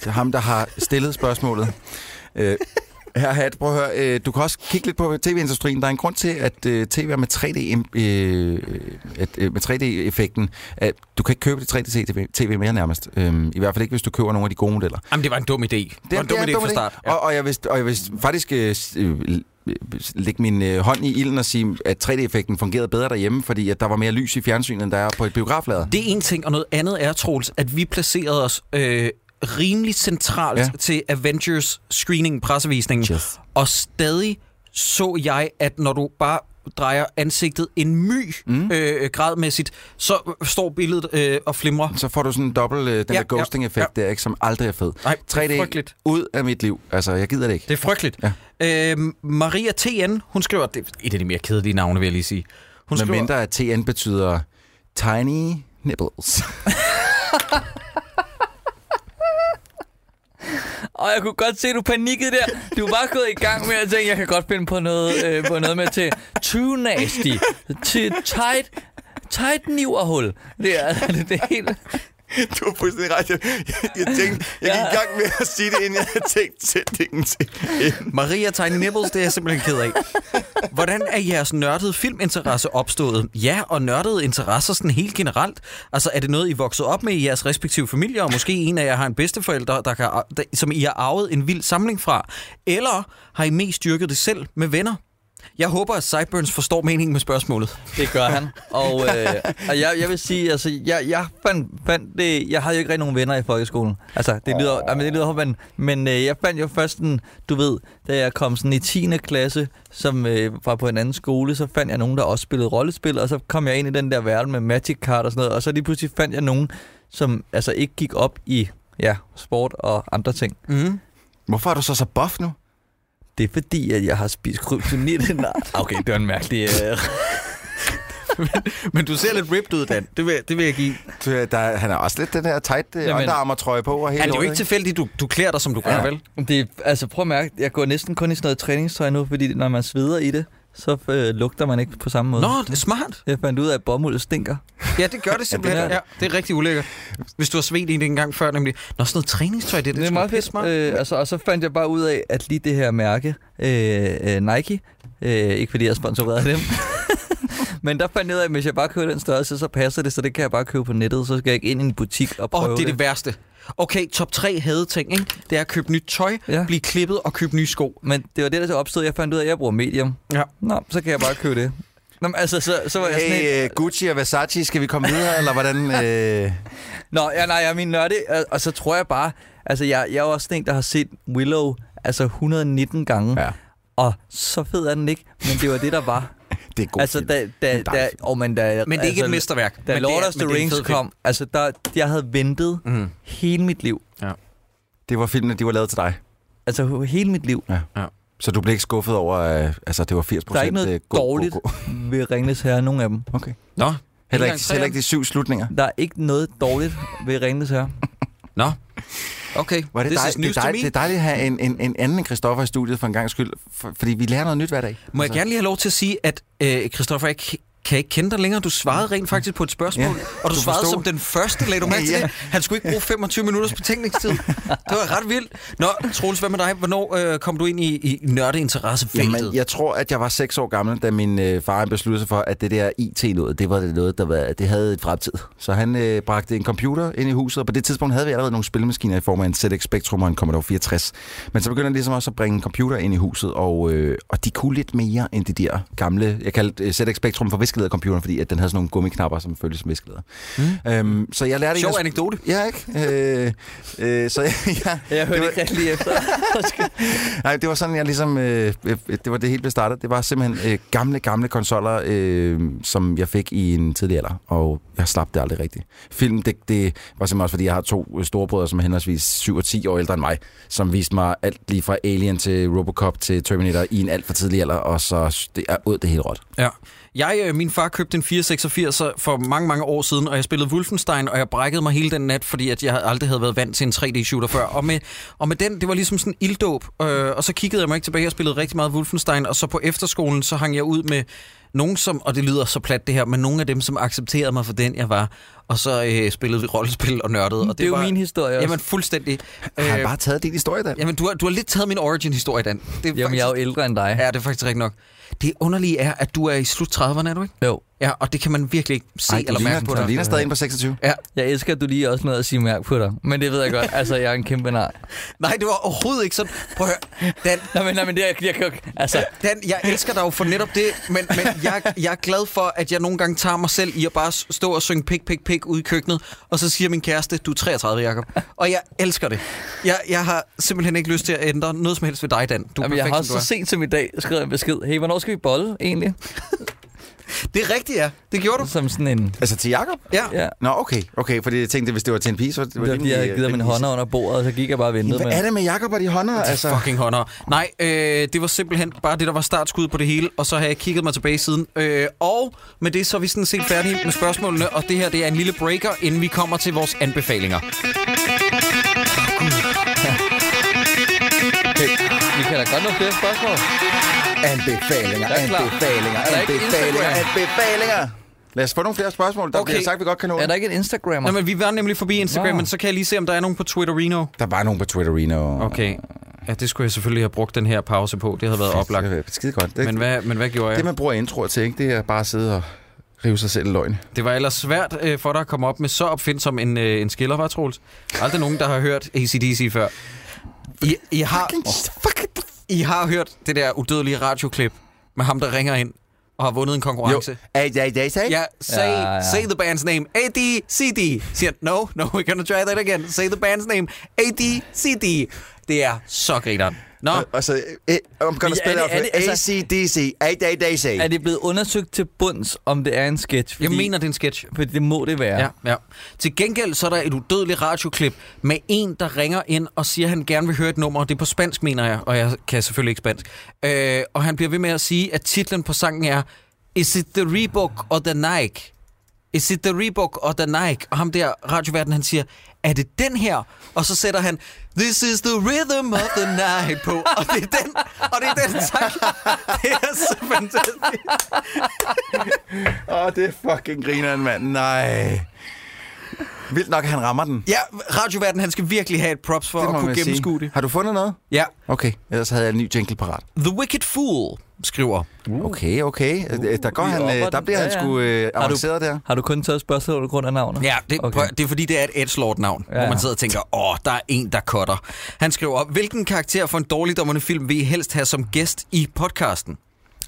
E: Det er ham, der har stillet spørgsmålet. Øh, her Hat, prøv at høre, øh, du kan også kigge lidt på tv-industrien. Der er en grund til, at øh, tv er med 3D, im- øh, at, øh, med 3D-effekten. At du kan ikke købe det 3D-tv mere nærmest. Øh, I hvert fald ikke, hvis du køber nogle af de gode modeller.
D: Jamen, det var en dum idé. Det, var en dum idé fra start.
E: Ja. Og, og, jeg vil, og jeg vil faktisk øh, s- øh, lægge min øh, hånd i ilden og sige, at 3D-effekten fungerede bedre derhjemme, fordi at der var mere lys i fjernsynet, end der er på et biograflader.
D: Det er en ting, og noget andet er, Troels, at vi placerede os øh, rimelig centralt
E: Ja.
D: ja. til Avengers screening, pressevisningen.
E: Yes.
D: Og stadig så jeg, at når du bare drejer ansigtet en my mm. øh, gradmæssigt, så står billedet øh, og flimrer.
E: Så får du sådan en dobbelt, øh, den ja,
D: Ja,
E: der ghosting-effekt ja, ja. der, ikke, som aldrig er fed.
D: Nej,
E: 3D
D: frygteligt.
E: ud af mit liv. Altså, jeg gider det ikke.
D: Det er frygteligt. Ja. Øhm, Maria T.N., hun skriver, det er et af de mere kedelige navne, vil jeg lige sige. Hun
E: Med mindre at TN betyder tiny nipples.
F: Og jeg kunne godt se, at du panikkede der. Du var gået i gang med at tænke, jeg kan godt finde på noget, øh, på noget med til too nasty, til tight, tight niverhul. Det er, det er helt...
C: (laughs) Du har fuldstændig ret. Jeg, jeg, jeg tænkte, jeg gik i gang med at sige det, inden jeg havde tænkt sætningen til.
D: Maria Tiny Nibbles, det er jeg simpelthen ked af. Hvordan er jeres nørdede filminteresse opstået? Ja, og nørdede interesser sådan helt generelt. Altså, er det noget, I er vokset op med i jeres respektive familier, og måske en af jer har en bedsteforælder, der kan, der, som I har arvet en vild samling fra? Eller har I mest dyrket det selv med venner? Jeg håber, at Sideburns forstår meningen med spørgsmålet.
F: Det gør han. Og, øh, og jeg, jeg vil sige, altså, jeg, jeg fandt, fandt det, jeg havde jo ikke rigtig nogen venner i folkeskolen. Altså, det lyder, oh. men det lyder men, men øh, jeg fandt jo først en, du ved, da jeg kom sådan i 10. klasse, som øh, var på en anden skole, så fandt jeg nogen, der også spillede rollespil, og så kom jeg ind i den der verden med Magic Card og sådan noget, og så lige pludselig fandt jeg nogen, som altså ikke gik op i ja, sport og andre ting.
D: Mm.
E: Hvorfor er du så så buff nu?
F: Det er fordi, at jeg har spist kryptonit. Nej, (laughs) okay, det var en mærkelig... Øh,
D: Men du ser lidt ripped ud, Dan. Det vil, det vil jeg give.
E: Du, øh, Der, han har også lidt den her tight øh,
F: Jamen.
E: underarmertrøje på. Og hele
D: Er det jo
E: lortet,
D: ikke tilfældigt, du, du klæder dig, som du gør,
E: Ja.
D: ja. vel?
F: Det, er- altså prøv at mærke, jeg går næsten kun i sådan noget træningstøj nu, fordi når man sveder i det, så øh, lugter man ikke på samme måde.
D: Nå, det er smart.
F: Jeg fandt ud af, at bomuld stinker.
D: Ja, det gør det simpelthen. Ja,
F: Ja, det
D: det,
F: gør
D: er, det er rigtig ulækkert. Hvis du har svedt i det en gang før, nemlig. Nå, sådan noget træningstøj, det, er det,
F: det er meget fedt.
D: smart.
F: Øh, altså, og så fandt jeg bare ud af, at lige det her mærke, øh, øh, Nike, øh, ikke fordi jeg er sponsoreret af dem, (laughs) men der fandt jeg ud af, at hvis jeg bare køber den størrelse, så passer det, så det kan jeg bare købe på nettet, så skal jeg ikke ind i en butik og
D: Åh,
F: prøve
D: oh, det er det værste. Okay, top 3 havde ting, ikke? Det er at købe nyt tøj,
F: Ja.
D: ja. blive klippet og købe nye sko.
F: Men det var det, der så opstod. Jeg fandt ud af, at jeg bruger medium.
D: Ja.
F: Nå, så kan jeg bare købe det. Nå, men altså, så, så var jeg sådan helt-
E: Hey, øh, Gucci og Versace, skal vi komme videre, eller hvordan?
C: (laughs)
E: Øh...
F: Nå, ja, nej, jeg er min nørde, og, og så tror jeg bare, altså jeg, jeg er jo også sådan en, der har set Willow altså 119 gange, ja.
E: Ja,
F: og så fed er den ikke, men det var det, der var.
E: det er god
F: altså,
E: film.
F: da, da,
E: dejlig
F: da, oh, men, da,
D: Men det er ikke
F: altså,
D: et mesterværk.
F: Da
D: men
F: Lord
D: det er,
F: of the
D: men det er en
F: Rings
D: fed film.
F: kom, altså der, jeg havde ventet
D: Mm.
F: hele mit liv.
E: Det var filmene, de var lavet til dig.
F: Altså hele mit liv
E: Så du blev ikke skuffet over, øh, altså det var 80 procent
F: Der er ikke noget dårligt. ved Ringnes Herre, nogen af dem.
E: Okay.
D: Nå,
E: Heller
D: engang
E: ikke, heller ikke de syv slutninger.
F: Der er ikke noget dårligt ved Ringnes Herre.
D: Nå, okay.
E: Var det,
D: This
E: dej,
D: is
E: det,
D: news
E: er
D: to
E: dej,
D: me.
E: det er dejligt at have en, en, en anden end Christoffer i studiet for en gang skyld, for, fordi vi lærer noget nyt hver dag. Altså,
D: Må jeg gerne lige have lov til at sige, at øh, Christoffer, jeg k- kan ikke kende dig længere. Du svarede rent faktisk på et spørgsmål,
E: Ja,
D: ja, og du,
E: du
D: du svarede
E: forstod.
D: som den første, lagde du mærke til
E: Ja.
D: det? Han skulle ikke bruge 25 minutters betænkningstid. Det var ret vildt. Nå, Troels, hvad med dig? Hvornår øh, kom du ind i, i nørdeinteressefeltet?
E: Jamen, jeg tror, at jeg var seks år gammel, da min øh, far han besluttede sig for, at det der IT noget, det var det noget, der var, det havde et fremtid. Så han øh, bragte en computer ind i huset, og på det tidspunkt havde vi allerede nogle spilmaskiner i form af en ZX Spectrum og en Commodore 64. Men så begyndte han ligesom også at bringe en computer ind i huset, og, øh, og de kunne lidt mere end de der gamle, jeg kaldte øh, ZX Spectrum for viskeledercomputeren, fordi at den havde sådan nogle gummiknapper, som føltes som viskeleder. Mm. Øhm, så jeg lærte...
D: Sjov
E: en af-
D: anekdote.
E: Ja, ikke? Øh, øh, så (laughs) jeg, jeg,
F: Jeg hørte
E: det var,
F: ikke rigtig lige (laughs) efter.
E: Nej, det var sådan, jeg ligesom... Øh, øh, det var det hele blev startet. Det var simpelthen øh, gamle, gamle konsoller, øh, som jeg fik i en tidlig alder, og jeg slap det aldrig rigtigt. Film, det, det var simpelthen også, fordi jeg har to øh, storebrødre, som er henholdsvis 7 og 10 år ældre end mig, som viste mig alt lige fra Alien til Robocop til Terminator i en alt for tidlig alder, og så det er ud det hele råt.
D: Ja. Jeg, øh, min far købte en 486 for mange, mange år siden, og jeg spillede Wolfenstein, og jeg brækkede mig hele den nat, fordi at jeg aldrig havde været vant til en 3D-shooter før. Og med, og med den, det var ligesom sådan en ilddåb, øh, og så kiggede jeg mig ikke tilbage og spillede rigtig meget Wolfenstein, og så på efterskolen, så hang jeg ud med nogen som, og det lyder så plat det her, men nogle af dem, som accepterede mig for den, jeg var, og så øh, spillede vi rollespil og nørdede. Og det,
F: Det er jo
D: var,
F: min historie også.
D: Jamen fuldstændig. Øh,
E: Jeg har bare taget din historie, Dan.
D: Jamen, du har, du har lidt taget min origin-historie, Dan. Det er
F: Jamen, jeg er jo
D: faktisk,
F: ældre end dig.
D: Ja, det er faktisk rigtigt nok. Det underlige er, at du er i slut 30'erne, er du ikke?
F: Jo.
D: Ja, og det kan man virkelig ikke se
E: Ej,
D: Ej,
E: du
D: eller mærke
E: ligner-
D: på
E: du
D: dig.
E: ligner stadig en på 26.
D: Ja.
F: Jeg elsker, at du lige også nåede at sige mærke på dig. Men det ved jeg godt. Altså, jeg er en kæmpe nej.
D: Nej, det var overhovedet ikke sådan. Prøv at høre. Dan,
F: Nej, men, nej, men det er jeg, jeg kan jo ikke- Altså,
D: Dan, jeg elsker dig jo for netop det, men, men jeg, jeg er glad for, at jeg nogle gange tager mig selv i at bare s- stå og synge pik, pik, pik ud i køkkenet, og så siger min kæreste, du er 33, Jacob. Og jeg elsker det. Jeg, jeg har simpelthen ikke lyst til at ændre noget som helst ved dig, Dan. Du er
F: jamen, jeg
D: perfekt,
F: har
D: som du
F: så
D: er.
F: sent som i dag skrevet en besked. Hey, hvornår skal vi bolle egentlig?
D: Det er rigtigt, ja. Det gjorde du.
F: Som sådan en...
E: Altså til Jacob?
D: Ja.
F: Ja.
E: Nå, okay. Okay, fordi jeg tænkte, hvis det var til en pige, så var det,
F: Det var fordi, jeg
D: øh,
F: havde givet min hånder under bordet, og så gik jeg bare og ventede
E: Hvad
F: med.
E: er det med Jacob og de hånder?
D: Altså. Fucking hånder. Nej, øh, det var simpelthen bare det, der var startskuddet på det hele, og så har jeg kigget mig tilbage siden. Øh, og med det, så er vi sådan set færdige med spørgsmålene, og det her, det er en lille breaker, inden vi kommer til vores anbefalinger.
F: Okay. Vi kan da godt nå flere spørgsmål.
E: Anbefalinger,
F: Jeg er klar.
E: anbefalinger,
F: Er der ikke
E: anbefalinger,
F: Instagram?
E: anbefalinger. Lad os få nogle flere spørgsmål. Der
D: Okay.
E: okay. bliver sagt, vi godt kan nå.
F: Er
E: Er
F: der
E: der...
F: ikke en Instagrammer?
D: Nå, men vi var nemlig forbi Instagram,
F: Nå.
D: men så kan jeg lige se, om der er nogen på Twitter, Reno.
E: der var nogen på Twitterino.
D: Okay. Ja, det skulle jeg selvfølgelig have brugt den her pause på. Det havde været oplagt.
E: Det er skide godt. Det,
D: Men
E: Men,
D: hvad, men hvad gjorde
E: det,
D: jeg?
E: man bruger introer til, ikke? det er bare at sidde og rive sig selv i løgn.
F: Ah,
D: Det var ellers svært øh, for dig at komme op med så opfindsom en, øh, en skiller, var Troels? Aldrig nogen, der har hørt ACDC før. I, I har... I har hørt det der udødelige radioklip med ham, der ringer ind og har vundet en konkurrence. Jo.
E: Ej, ej, ej, ej.
D: Ja, say,
F: Ja, ja.
D: say the band's name. ADCD. Siger han, no, no, we're gonna try that again. Say the band's name. ADCD. Det er så grineren. Nå,
E: Og, og så, eh, I'm gonna
F: Men
E: spell
F: er det-
E: out for
F: er det- altså-
E: ACDC. Ej, ej, ej,
F: Er
E: ej.
F: det blevet undersøgt til bunds, om det er en sketch?
D: jeg mener, det er en sketch.
F: For det må det være.
D: Ja, ja. Til gengæld så er der et udødeligt radioklip med en, der ringer ind og siger, at han gerne vil høre et nummer. Det er på spansk, mener jeg, og jeg kan selvfølgelig ikke spansk. Øh, og han bliver ved med at sige, at titlen på sangen er Is it the Reebok or the Nike? Is it the Reebok or the Nike? Og ham der radioverden, han siger, er det den her? Og så sætter han, this is the rhythm of the night på. (laughs) Og det er den, og det er den sang. (laughs) Det er så fantastisk.
E: Åh, det er fucking grineren, mand. Nej. Vildt nok, at han rammer den.
D: Ja, radioverden, han skal virkelig have et props for at kunne
E: man sige.
D: gennemskue det.
E: Har du fundet noget?
D: Ja,
E: Okay, ellers havde jeg en ny jingle parat.
D: The Wicked Fool skriver,
E: Okay, okay. Øh, Der, går
F: vi
E: han,
F: opper
E: øh, der
F: den.
E: bliver
F: Ja,
E: han
F: ja.
E: sgu øh,
F: du-
E: avanceret der.
F: Har du kun taget spørgsmål på grund af navnet?
D: ja, det,
F: Okay.
D: okay. prøv, det er fordi, det er et edgelord-navn, ja.
F: Ja.
D: hvor man sidder og tænker, åh, der er en, der cutter. Han skriver, hvilken karakter for en dårligdommerne film vil I helst have som gæst i podcasten?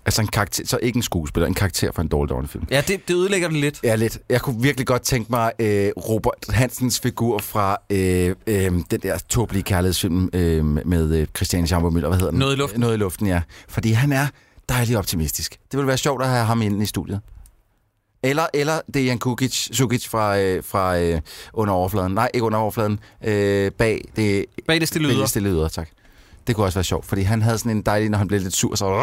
E: Altså en karakter, så ikke en skuespiller, en karakter for en dårlig dårlig film.
D: Ja, det, det ødelægger den lidt.
E: Ja, lidt. Jeg kunne virkelig godt tænke mig øh, Robert Hansens figur fra øh, øh, den der tåbelige kærlighedsfilm øh, med øh, Christian Schamper Møller. Hvad hedder den?
D: Noget i luften.
E: Noget i luften, ja. Fordi han er dejlig optimistisk. Det ville være sjovt at have ham inde i studiet. Eller, eller Dejan Kukic, Sukic fra, øh, fra øh, under overfladen. Nej, ikke under overfladen. Øh, bag det
D: Bag det stille
E: bælge
D: yder.
E: stille yder, tak. Det kunne også være sjovt, fordi han havde sådan en dejlig, når han blev lidt sur, så...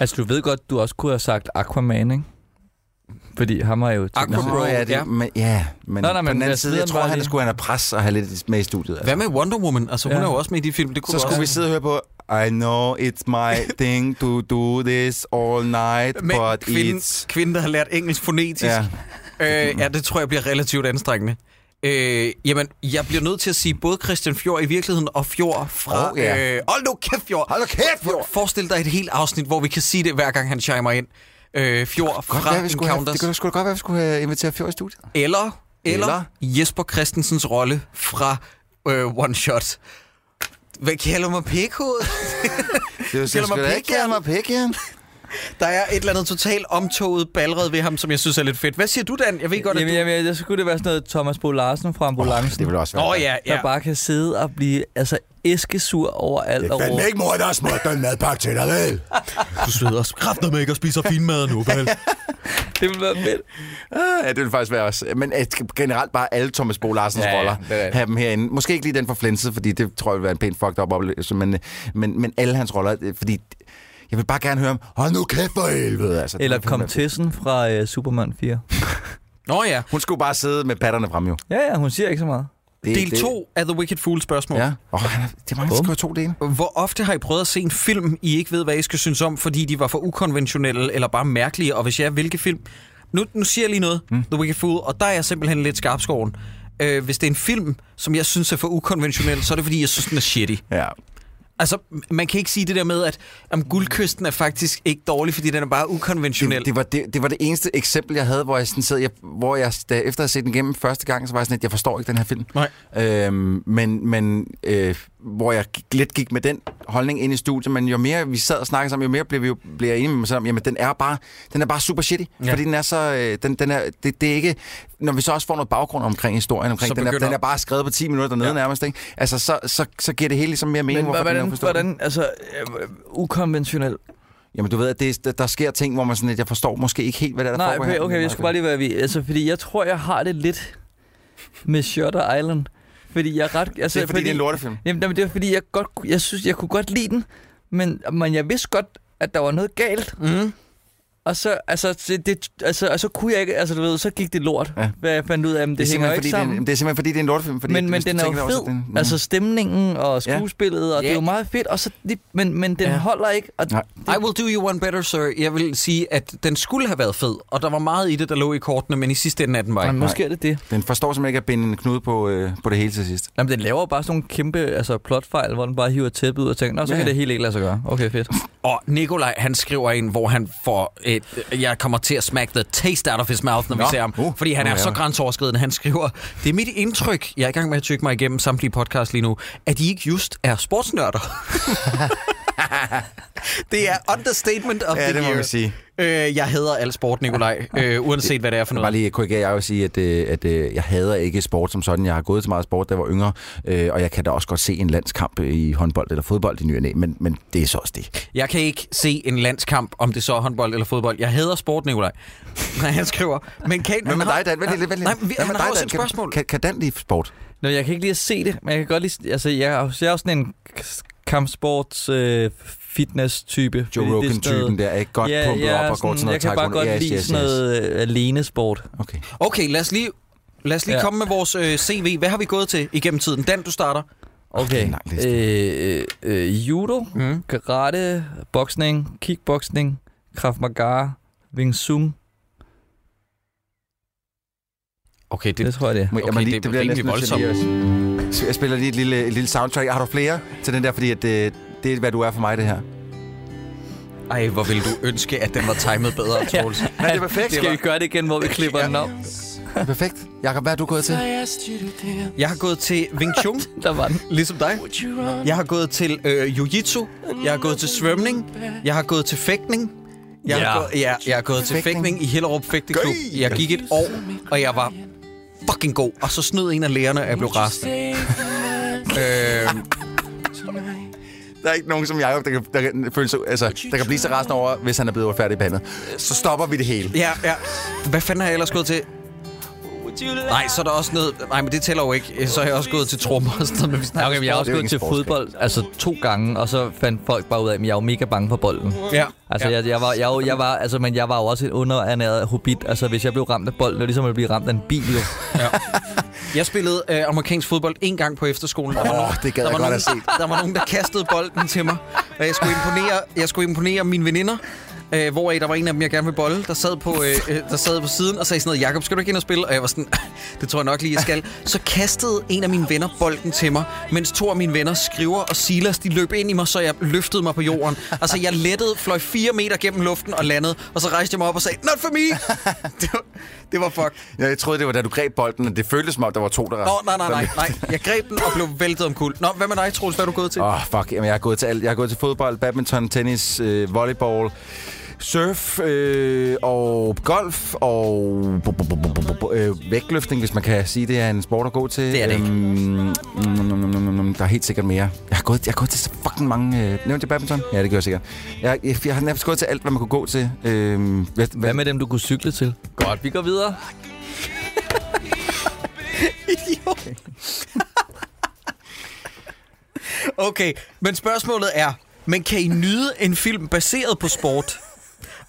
F: Altså, du ved godt, du også kunne have sagt Aquaman, ikke? Fordi ham har jo...
D: Aqua-
E: Nå, ja, det,
D: Ja.
E: ja. Men, ja, men,
F: Nå,
E: Nå,
F: nej,
E: nej,
F: men
E: men på den
D: altså,
F: jeg
E: anden side,
F: sidder
E: jeg tror,
F: bare
E: han
F: lige-
E: skulle han have pres og have lidt med i studiet. Altså.
D: Hvad med Wonder Woman? Altså, hun
F: Ja.
D: er jo også med i de film. Det kunne
E: Så
D: du
E: skulle vi
D: også.
E: sidde og høre på, I know it's
D: (laughs)
E: my thing to do this all night,
D: Men
E: but
D: kvinden,
E: it's...
D: kvinden, der har lært engelsk fonetisk.
E: Ja.
D: Ja. Øh, ja, det tror jeg bliver relativt anstrengende. Øh, jamen, jeg bliver nødt til at sige både Christian Fjord i virkeligheden og Fjord fra...
E: Åh, ja.
D: øh, hold nu kæft, Fjord!
E: Hold da kæft, Fjord!
D: Forestil dig et helt afsnit, hvor vi kan sige det, hver gang han chimer ind. Øh, fjord
E: Godt,
D: fra
E: være, vi skulle have, det
D: Encounters.
E: kunne sgu da godt være, vi skulle have inviteret Fjord i studiet.
D: eller, eller,
E: Eller-
D: eller Jesper Christensens rolle fra øh, One Shot. Hvad kalder mig pikhoved?
E: Det var
D: Kalder mig
E: sgu da ikke
D: pikhjern.
E: kalde mig pikhjern.
D: Der er et eller andet totalt omtoget balred ved ham, som jeg synes er lidt fedt. Hvad siger du, Dan? Jeg ved godt, at
F: Jamen,
D: du...
F: jamen, jeg, så skulle det være sådan noget Thomas Bo Larsen fra ambulancen,
E: Det vil også være.
D: Nå ja,
F: der
D: ja.
F: bare kan sidde og blive altså æskesur over alt og råbe.
C: ikke mor, der er smurt den madpakke til dig, vel?
D: Du sidder kræfter med ikke og spiser finmad nu, vel?
F: Det ville være fedt.
E: Ah, Ja, det vil faktisk være også. Men at generelt bare alle Thomas Bo Larsens
F: Ja,
E: ja,
F: ja,
E: roller.
F: det er
E: Ja,
F: det.
E: have dem herinde. Måske ikke lige den for Flinset, fordi det tror jeg vil være en pænt fucked up oplevelse. Men, øh, men, men alle hans roller, øh, fordi jeg vil bare gerne høre ham. Hold nu kæft for helvede. Altså,
F: Eller
E: det vil
F: kom
E: fandme-
F: Tessen fra øh, Superman 4.
D: (laughs) Nå ja.
E: Hun skulle bare sidde med patterne frem jo.
F: Ja, ja, hun siger ikke så meget.
E: Det,
D: Del 2 af The Wicked Fool spørgsmål.
E: Ja. Oh, det er mange, der skriver to dele.
D: Hvor ofte har I prøvet at se en film, I ikke ved, hvad I skal synes om, fordi de var for ukonventionelle eller bare mærkelige? Og hvis jeg hvilke film... Nu, nu siger jeg lige noget, mm. The Wicked Fool, og der er jeg simpelthen lidt skarpskoven. Øh, hvis det er en film, som jeg synes er for ukonventionel, så er det fordi, jeg synes, den er shitty.
E: Ja.
D: Altså, man kan ikke sige det der med, at om guldkysten er faktisk ikke dårlig, fordi den er bare ukonventionel.
E: Det, det, var det, det var det eneste eksempel, jeg havde, hvor jeg sådan sad, jeg, hvor jeg, da, efter at have set den igennem første gang, så var jeg sådan, at jeg forstår ikke den her film.
D: Nej.
E: Øhm, men men øh, hvor jeg gik, lidt gik med den holdning ind i studiet, men jo mere vi sad og snakkede sammen, jo mere blev vi jo blev jeg enige med mig selv om, jamen den er bare, den er bare super shitty,
D: Ja.
E: ja. fordi den er så, øh, den, den er, det, det er ikke, når vi så også får noget baggrund omkring historien,
D: Så
E: omkring, den er,
D: begynder-
E: den er bare skrevet på 10 minutter dernede ja. nærmest, ikke? Altså, så, så, så giver det hele ligesom mere mening,
F: Men
E: hvorfor den
F: hvordan,
E: er uforståelig.
F: hvordan, altså, øh, ukonventionel.
E: Jamen du ved, at det, der, der sker ting, hvor man sådan, at jeg forstår måske ikke helt, hvad det er, der
F: Nej,
E: foregår
F: okay,
E: her.
F: okay, jeg skulle bare lige være vi. Altså, fordi jeg tror, jeg har det lidt med Shutter Island. Fordi jeg er ret... Altså,
E: Det er fordi, det er en lortefilm.
F: Jamen, jamen, det er fordi, jeg, godt, kunne- jeg synes, jeg kunne godt lide den, men, men jeg vidste godt, at der var noget galt.
D: Mm.
F: Og så, altså, det, det, altså, og så kunne jeg ikke, altså du ved, så gik det lort, ja.
E: Ja.
F: hvad jeg fandt ud af, men
E: Det er,
F: det, det hænger jo
E: simpelthen,
F: ikke
E: fordi, det, er
F: sammen.
E: en, det er simpelthen fordi, det er en lortefilm. Fordi
F: men
E: hvis
F: men
E: du
F: den er jo
E: tænker
F: fed,
E: over, så er det en- Mhm.
F: altså stemningen og skuespillet, og det er jo
D: Ja.
F: meget fedt, og så, det, men, men den
D: Ja.
F: holder ikke, og
E: Nej.
D: I will do you one better, sir. Jeg vil sige, at den skulle have været fed, og der var meget i det, der lå i kortene, men i sidste ende af den var
F: Nej,
D: ikke.
F: måske er det det.
E: Den forstår simpelthen ikke at binde en knude på, øh, på det hele til sidst.
F: Jamen, den laver bare sådan nogle kæmpe altså, plotfejl, hvor den bare hiver tæppet ud og tænker, nå, så
E: Ja.
F: kan det helt ikke lade sig gøre. Okay, fedt.
D: Og Nikolaj, han skriver en, hvor han får et, jeg kommer til at smack the taste out of his mouth, når Nå,
E: Nå,
D: vi ser ham, uh,
E: uh,
D: fordi han
E: nu
D: er
E: er
D: så
E: jeg der.
D: grænseoverskridende. Han skriver, det er mit indtryk, jeg er i gang med at tykke mig igennem samtlige podcasts lige nu, at I ikke just er sportsnørder. (laughs) det er understatement of the year.
E: sige.
D: Øh, jeg hader al sport, Nikolaj, øh, uanset hvad det er for
E: Bare
D: noget.
E: lige korrigere, jeg vil sige, at, øh, at øh, jeg hader ikke sport som sådan. Jeg har gået til meget sport, da jeg var yngre, øh, og jeg kan da også godt se en landskamp i håndbold eller fodbold i ny og næ, men, men det er så også det.
D: Jeg kan ikke se en landskamp, om det så er håndbold eller fodbold. Jeg hader sport, Nikolaj. (laughs) Nej, han skriver, men kan...
E: Hvad med dig, Dan? Vent lige, vent lige.
D: Nej, vi,
E: Hvad
D: han
E: med
D: har
E: dig,
D: også
E: Dan?
D: et
E: Kan-
D: spørgsmål.
E: Kan, kan Dan lide sport?
F: Nå, jeg kan ikke lige se det, men jeg kan godt lige... Altså, jeg, er- jeg er jo sådan en kampsports øh, fitness-type. fordi det
E: Joe
F: er sådan
E: Rogan-typen
F: noget-
E: der er ikke godt
F: Ja,
E: pumpet
F: jeg er
E: op og går til
F: sådan-
E: noget
F: Jeg kan bare
E: taekwondo. Yes,
F: godt lide
E: yes,
F: sådan
E: yes.
F: noget øh, alene-sport.
E: Okay.
D: Okay, lad os lige, lad os lige
F: Ja.
D: ja. komme med vores øh, CV. Hvad har vi gået til igennem tiden? Dan, du starter.
E: det er
F: Okay.
E: en lang
F: Øh, øh, judo,
D: Mm.
F: karate, boksning, kickboksning, krav maga, wing chun.
D: Okay, det,
F: Det tror jeg, det er.
E: Må jeg-
D: Okay,
E: jeg må
D: det
E: lige,
D: er
E: det, bliver
D: rimelig
E: næsten nødt til lige at- Så Jeg spiller lige et lille, et lille soundtrack. Har du flere til den der? Fordi at, øh, det er, hvad du er for mig, det her.
D: ej, hvor ville du ønske, at den var timet (laughs) bedre, Troels.
E: Men det er perfekt.
F: Skal vi gøre det igen, hvor vi klipper den op?
E: Det er perfekt. Jakob, hvad er du gået til?
D: Jeg har gået til Wing Chun,
F: Der var den.
D: (laughs) ligesom dig. Jeg har gået til øh, Jiu-Jitsu. Jeg har gået til svømning. Jeg har gået til fægtning. Jeg, ja. har,
F: Ja.
D: gået, ja, jeg har gået til
E: Fægtning.
D: fægtning i Hellerup Fægteklub. Jeg gik et år, og jeg var fucking god. Og så snød en af lærerne, og jeg blev (laughs) rasende. øh,
E: Der er ikke nogen som Jacob, der kan, der kan, føle sig, altså, der kan blive så resten over, hvis han er blevet uretfærdig behandlet. Så stopper vi det hele.
D: Ja, ja. Hvad fanden har jeg ellers gået til? Nej, så er der også noget... Nej, men det tæller jo ikke. Så har jeg også gået til trommer og sådan noget, men vi snakker
F: Okay, men jeg har også
E: Det er jo
F: gået
E: ingen
F: til
E: sportsgren.
F: fodbold altså to gange, og så fandt folk bare ud af, at jeg er jo mega bange for bolden.
D: Ja.
F: Altså,
D: Ja.
F: ja. jeg, jeg, var, jeg, var- jeg var, altså, men jeg var jo også en underernæret hobbit. Altså, hvis jeg blev ramt af bolden, det var ligesom at blive ramt af en bil. Jo.
D: Jeg spillede øh, amerikansk fodbold en gang på efterskolen. Der var
E: Åh,
D: nogen,
E: det gad
D: der
E: jeg
D: var
E: godt
D: nogen,
E: have
D: Der var nogen, der kastede bolden til mig, og jeg skulle imponere, jeg skulle imponere mine veninder. Øh, hvor der var en af dem, jeg gerne ville bolle, der sad, på, øh, øh, der sad på siden og sagde sådan noget, Jakob, skal du ikke ind og spille? Og jeg var sådan, (laughs) det tror jeg nok lige, jeg skal. Så kastede en af mine venner bolden til mig, mens to af mine venner, Skriver og Silas, de løb ind i mig, så jeg løftede mig på jorden. Altså, jeg lettede, fløj fire meter gennem luften og landede, og så rejste jeg mig op og sagde, not for me! (laughs) Det var, det var fuck.
E: Ja, jeg troede, det var, da du greb bolden, og det føltes som om, der var to, der...
D: Nå, nej, nej, nej, nej. Jeg greb den og blev væltet om kul. Nå, hvad med dig, Troels? Hvad er du gået til?
E: Åh, oh, fuck. Jamen, jeg, har gået til alt. jeg har gået til fodbold, badminton, tennis, øh, volleyball, surf øh, og golf og bu- bu- bu- bu- bu- bu- øh, vægtløftning, hvis man kan sige, det er en sport at gå til.
D: Det er det ikke.
E: Øhm, mm, mm, mm, mm, mm, mm, der er helt sikkert mere. Jeg har gået, jeg har gået til så fucking mange... Øh, nævnte jeg badminton? Ja, det gør jeg sikkert. Jeg, jeg, jeg har nærmest gået til alt, hvad man kunne gå til. Øh, hvad,
F: Hvad med dem, du kunne cykle til? Godt, vi går videre.
D: Okay, men spørgsmålet er, men kan I nyde en film baseret på sport?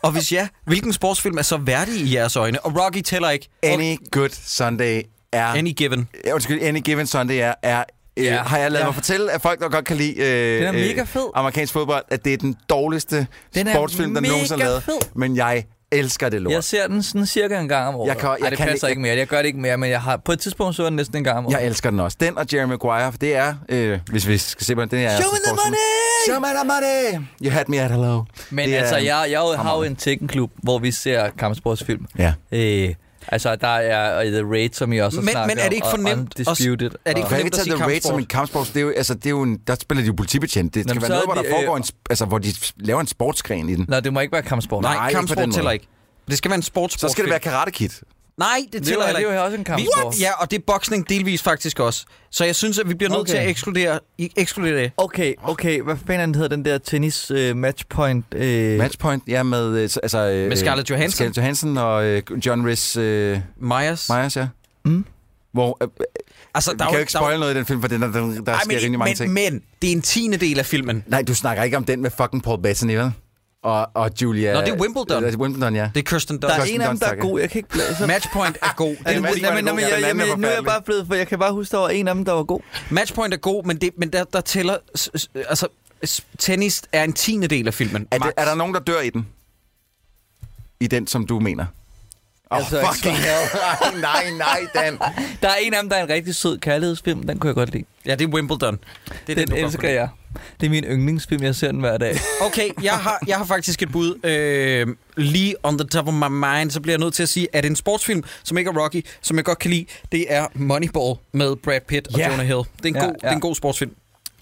D: Og hvis ja, hvilken sportsfilm er så værdig i jeres øjne? Og Rocky tæller ikke. Okay.
E: Any Good Sunday er...
D: Any given.
E: Ja, undskyld, Any Given Sunday er... er øh,
F: Ja.
E: ja, har jeg lavet
F: Ja.
E: ja. mig fortælle at folk, der godt kan lide øh,
F: Den er
E: øh,
F: mega fed.
E: amerikansk fodbold, at det er den dårligste
F: Den er
E: sportsfilm, der
F: mega
E: nogensinde er lavet.
F: fed.
E: Men jeg elsker det lort.
F: Jeg ser den sådan cirka en gang om året.
E: Jeg kan-
F: Ej,
E: jeg
F: det
E: kan
F: passer
E: ikke-
F: ikke mere. Jeg gør det ikke mere, men jeg har på et tidspunkt så jeg den næsten en gang om året.
E: Jeg elsker den også. Den og Jerry Maguire, for det er, øh, hvis vi skal se på den, det er... altså
F: Show me the money!
E: Show me the money! You had me at hello.
F: Men
E: Det er-
F: altså, jeg, jeg jo- har jo en Tekken-klub, hvor vi ser kampsportsfilm.
E: Ja.
F: Øh, altså, der er øh, The Raid, som I også har
D: Men-
F: snakket
D: men er det ikke
F: om,
D: for
F: og
D: nemt også-
F: Undisputed.
D: er det ikke for
E: Kan jeg
F: og,
E: ikke
D: nemt at
E: tage
D: sige
E: The Raid som en
D: kampsport?
E: kampsport? Det er jo, altså, det er jo en, der spiller de jo politibetjent. Det skal
F: Jamen,
E: være
F: så
E: noget,
F: er
E: hvor der
F: de, øh,
E: foregår en, sp- altså, hvor de laver en sportsgren i den.
F: Nå, det må ikke være kampsport.
E: Nej,
D: Nej,
E: ikke på
D: kampsport
E: den måde.
D: tæller ikke. Det skal være en sportssport.
E: Så skal det være Karate Kid.
D: Nej, det
F: Det er jo-
D: tæller heller
F: det er
D: ikke.
F: jo også en
D: Vi,
F: kampsport.
D: ja, og det er boksning delvis faktisk også. Så jeg synes, at vi bliver nødt
F: Okay.
D: til at ekskludere, i- ekskludere det.
F: Okay, okay. Hvad fanden hedder den der tennis øh, matchpoint? Øh,
E: Matchpoint, ja, med, øh, så- altså, øh,
D: Med Scarlett Johansson.
E: Scarlett Johansson og øh, John Rhys øh,
D: Myers.
E: Myers, ja.
F: Mm.
E: Hvor, øh, øh,
D: Altså,
E: vi kan jo
D: jo-
E: ikke
D: jo-
E: spoil noget i den film, for den, der, der, der
D: Ej,
E: sker rimelig mange
D: men,
E: ting.
D: men, men det er en tiende del af filmen.
E: Nej, du snakker ikke om den med fucking Paul Bettany, vel? Og, og Julia...
D: Nå, det er Wimbledon.
E: Øh, Wimbledon, ja.
D: Det er Kirsten
F: der
D: Dunst.
F: er
E: Kirsten
F: en af dem, der er
E: Dunst,
F: god. Jeg kan ikke... bla- Så,
D: Matchpoint er god.
F: er det,
E: Matchpoint
F: nej,
E: er
F: men, nej,
E: god,
F: men,
E: ja,
F: jeg,
E: den
F: jeg,
E: anden er
F: jeg, nu er jeg
E: forfærdelig.
F: bare blevet, for jeg kan bare huske, der var en af dem, der var god.
D: Matchpoint er god, men, det, men der, der tæller... s- s- Altså, s- tennis er en tiende del af filmen.
E: Er, det,
D: max.
E: er der nogen, der dør i den? I den, som du mener? Åh, oh,
F: Altså,
E: altså,
F: (laughs)
E: fucking hell. Ej, nej, nej, Dan.
F: Der er en af dem, der er en rigtig sød kærlighedsfilm. Den kunne jeg godt lide.
D: Ja, det er Wimbledon. Det
F: Den,
D: du godt
F: elsker
D: kunne
F: jeg. Det er min yndlingsfilm. Jeg ser den hver dag.
D: lide. Okay, jeg har, jeg har faktisk et bud. Øh, lige on the top of my mind, så bliver jeg nødt til at sige, at en sportsfilm, som ikke er Rocky, som jeg godt kan lide, det er Moneyball med Brad Pitt og
F: Ja.
D: Jonah Hill. Det er en,
F: Ja,
D: ja, god,
F: ja.
D: Det er en god sportsfilm.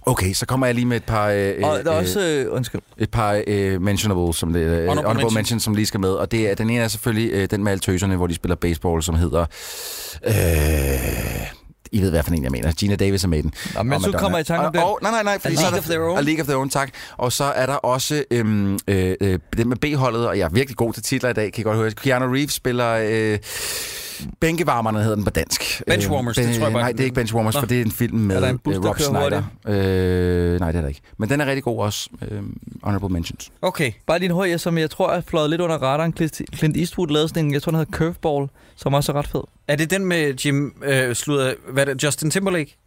E: Okay, så kommer jeg lige med et par... Øh,
F: Og der er
E: øh,
F: også... Øh, undskyld.
E: Et par øh, mentionable, som det, øh, honorable, honorable
D: mention.
E: mention. mentions, som lige skal med. Og det er, den ene er selvfølgelig øh, den med alle tøserne, hvor de spiller baseball, som hedder... Øh, I ved, hvad for en jeg mener. Gina Davis er med i den.
F: Nå, mens
E: Og
F: du
E: Madonna.
F: kommer i tanke om
E: Og-
F: den.
E: Og, nej, nej, nej.
D: A
E: Fordi så er
D: League
E: der,
D: of Their Own.
E: A League of Their Own, tak. Og så er der også øhm, øh, øh, den med B-holdet, og jeg er virkelig god til titler i dag, kan I godt høre. Keanu Reeves spiller... Øh, Bænkevarmerne hedder den på dansk.
D: Benchwarmers, det
E: ben-
D: tror jeg bare-
E: Nej, det er ikke Benchwarmers,
D: Nå.
E: for det er en film med
F: Er der en bus,
E: øh,
F: der
E: Rob
F: kører
E: Schneider. Øh, nej, det er der ikke. Men den er rigtig god også. Øh, honorable mentions.
D: Okay.
F: Bare lige en høj, som jeg tror er fløjet lidt under radaren. Clint- Clint Eastwood lavede sådan en, jeg tror, den hedder Curveball, som også er ret fed.
D: Er det den med Jim... Øh, slutter, hvad er det? Justin Timberlake?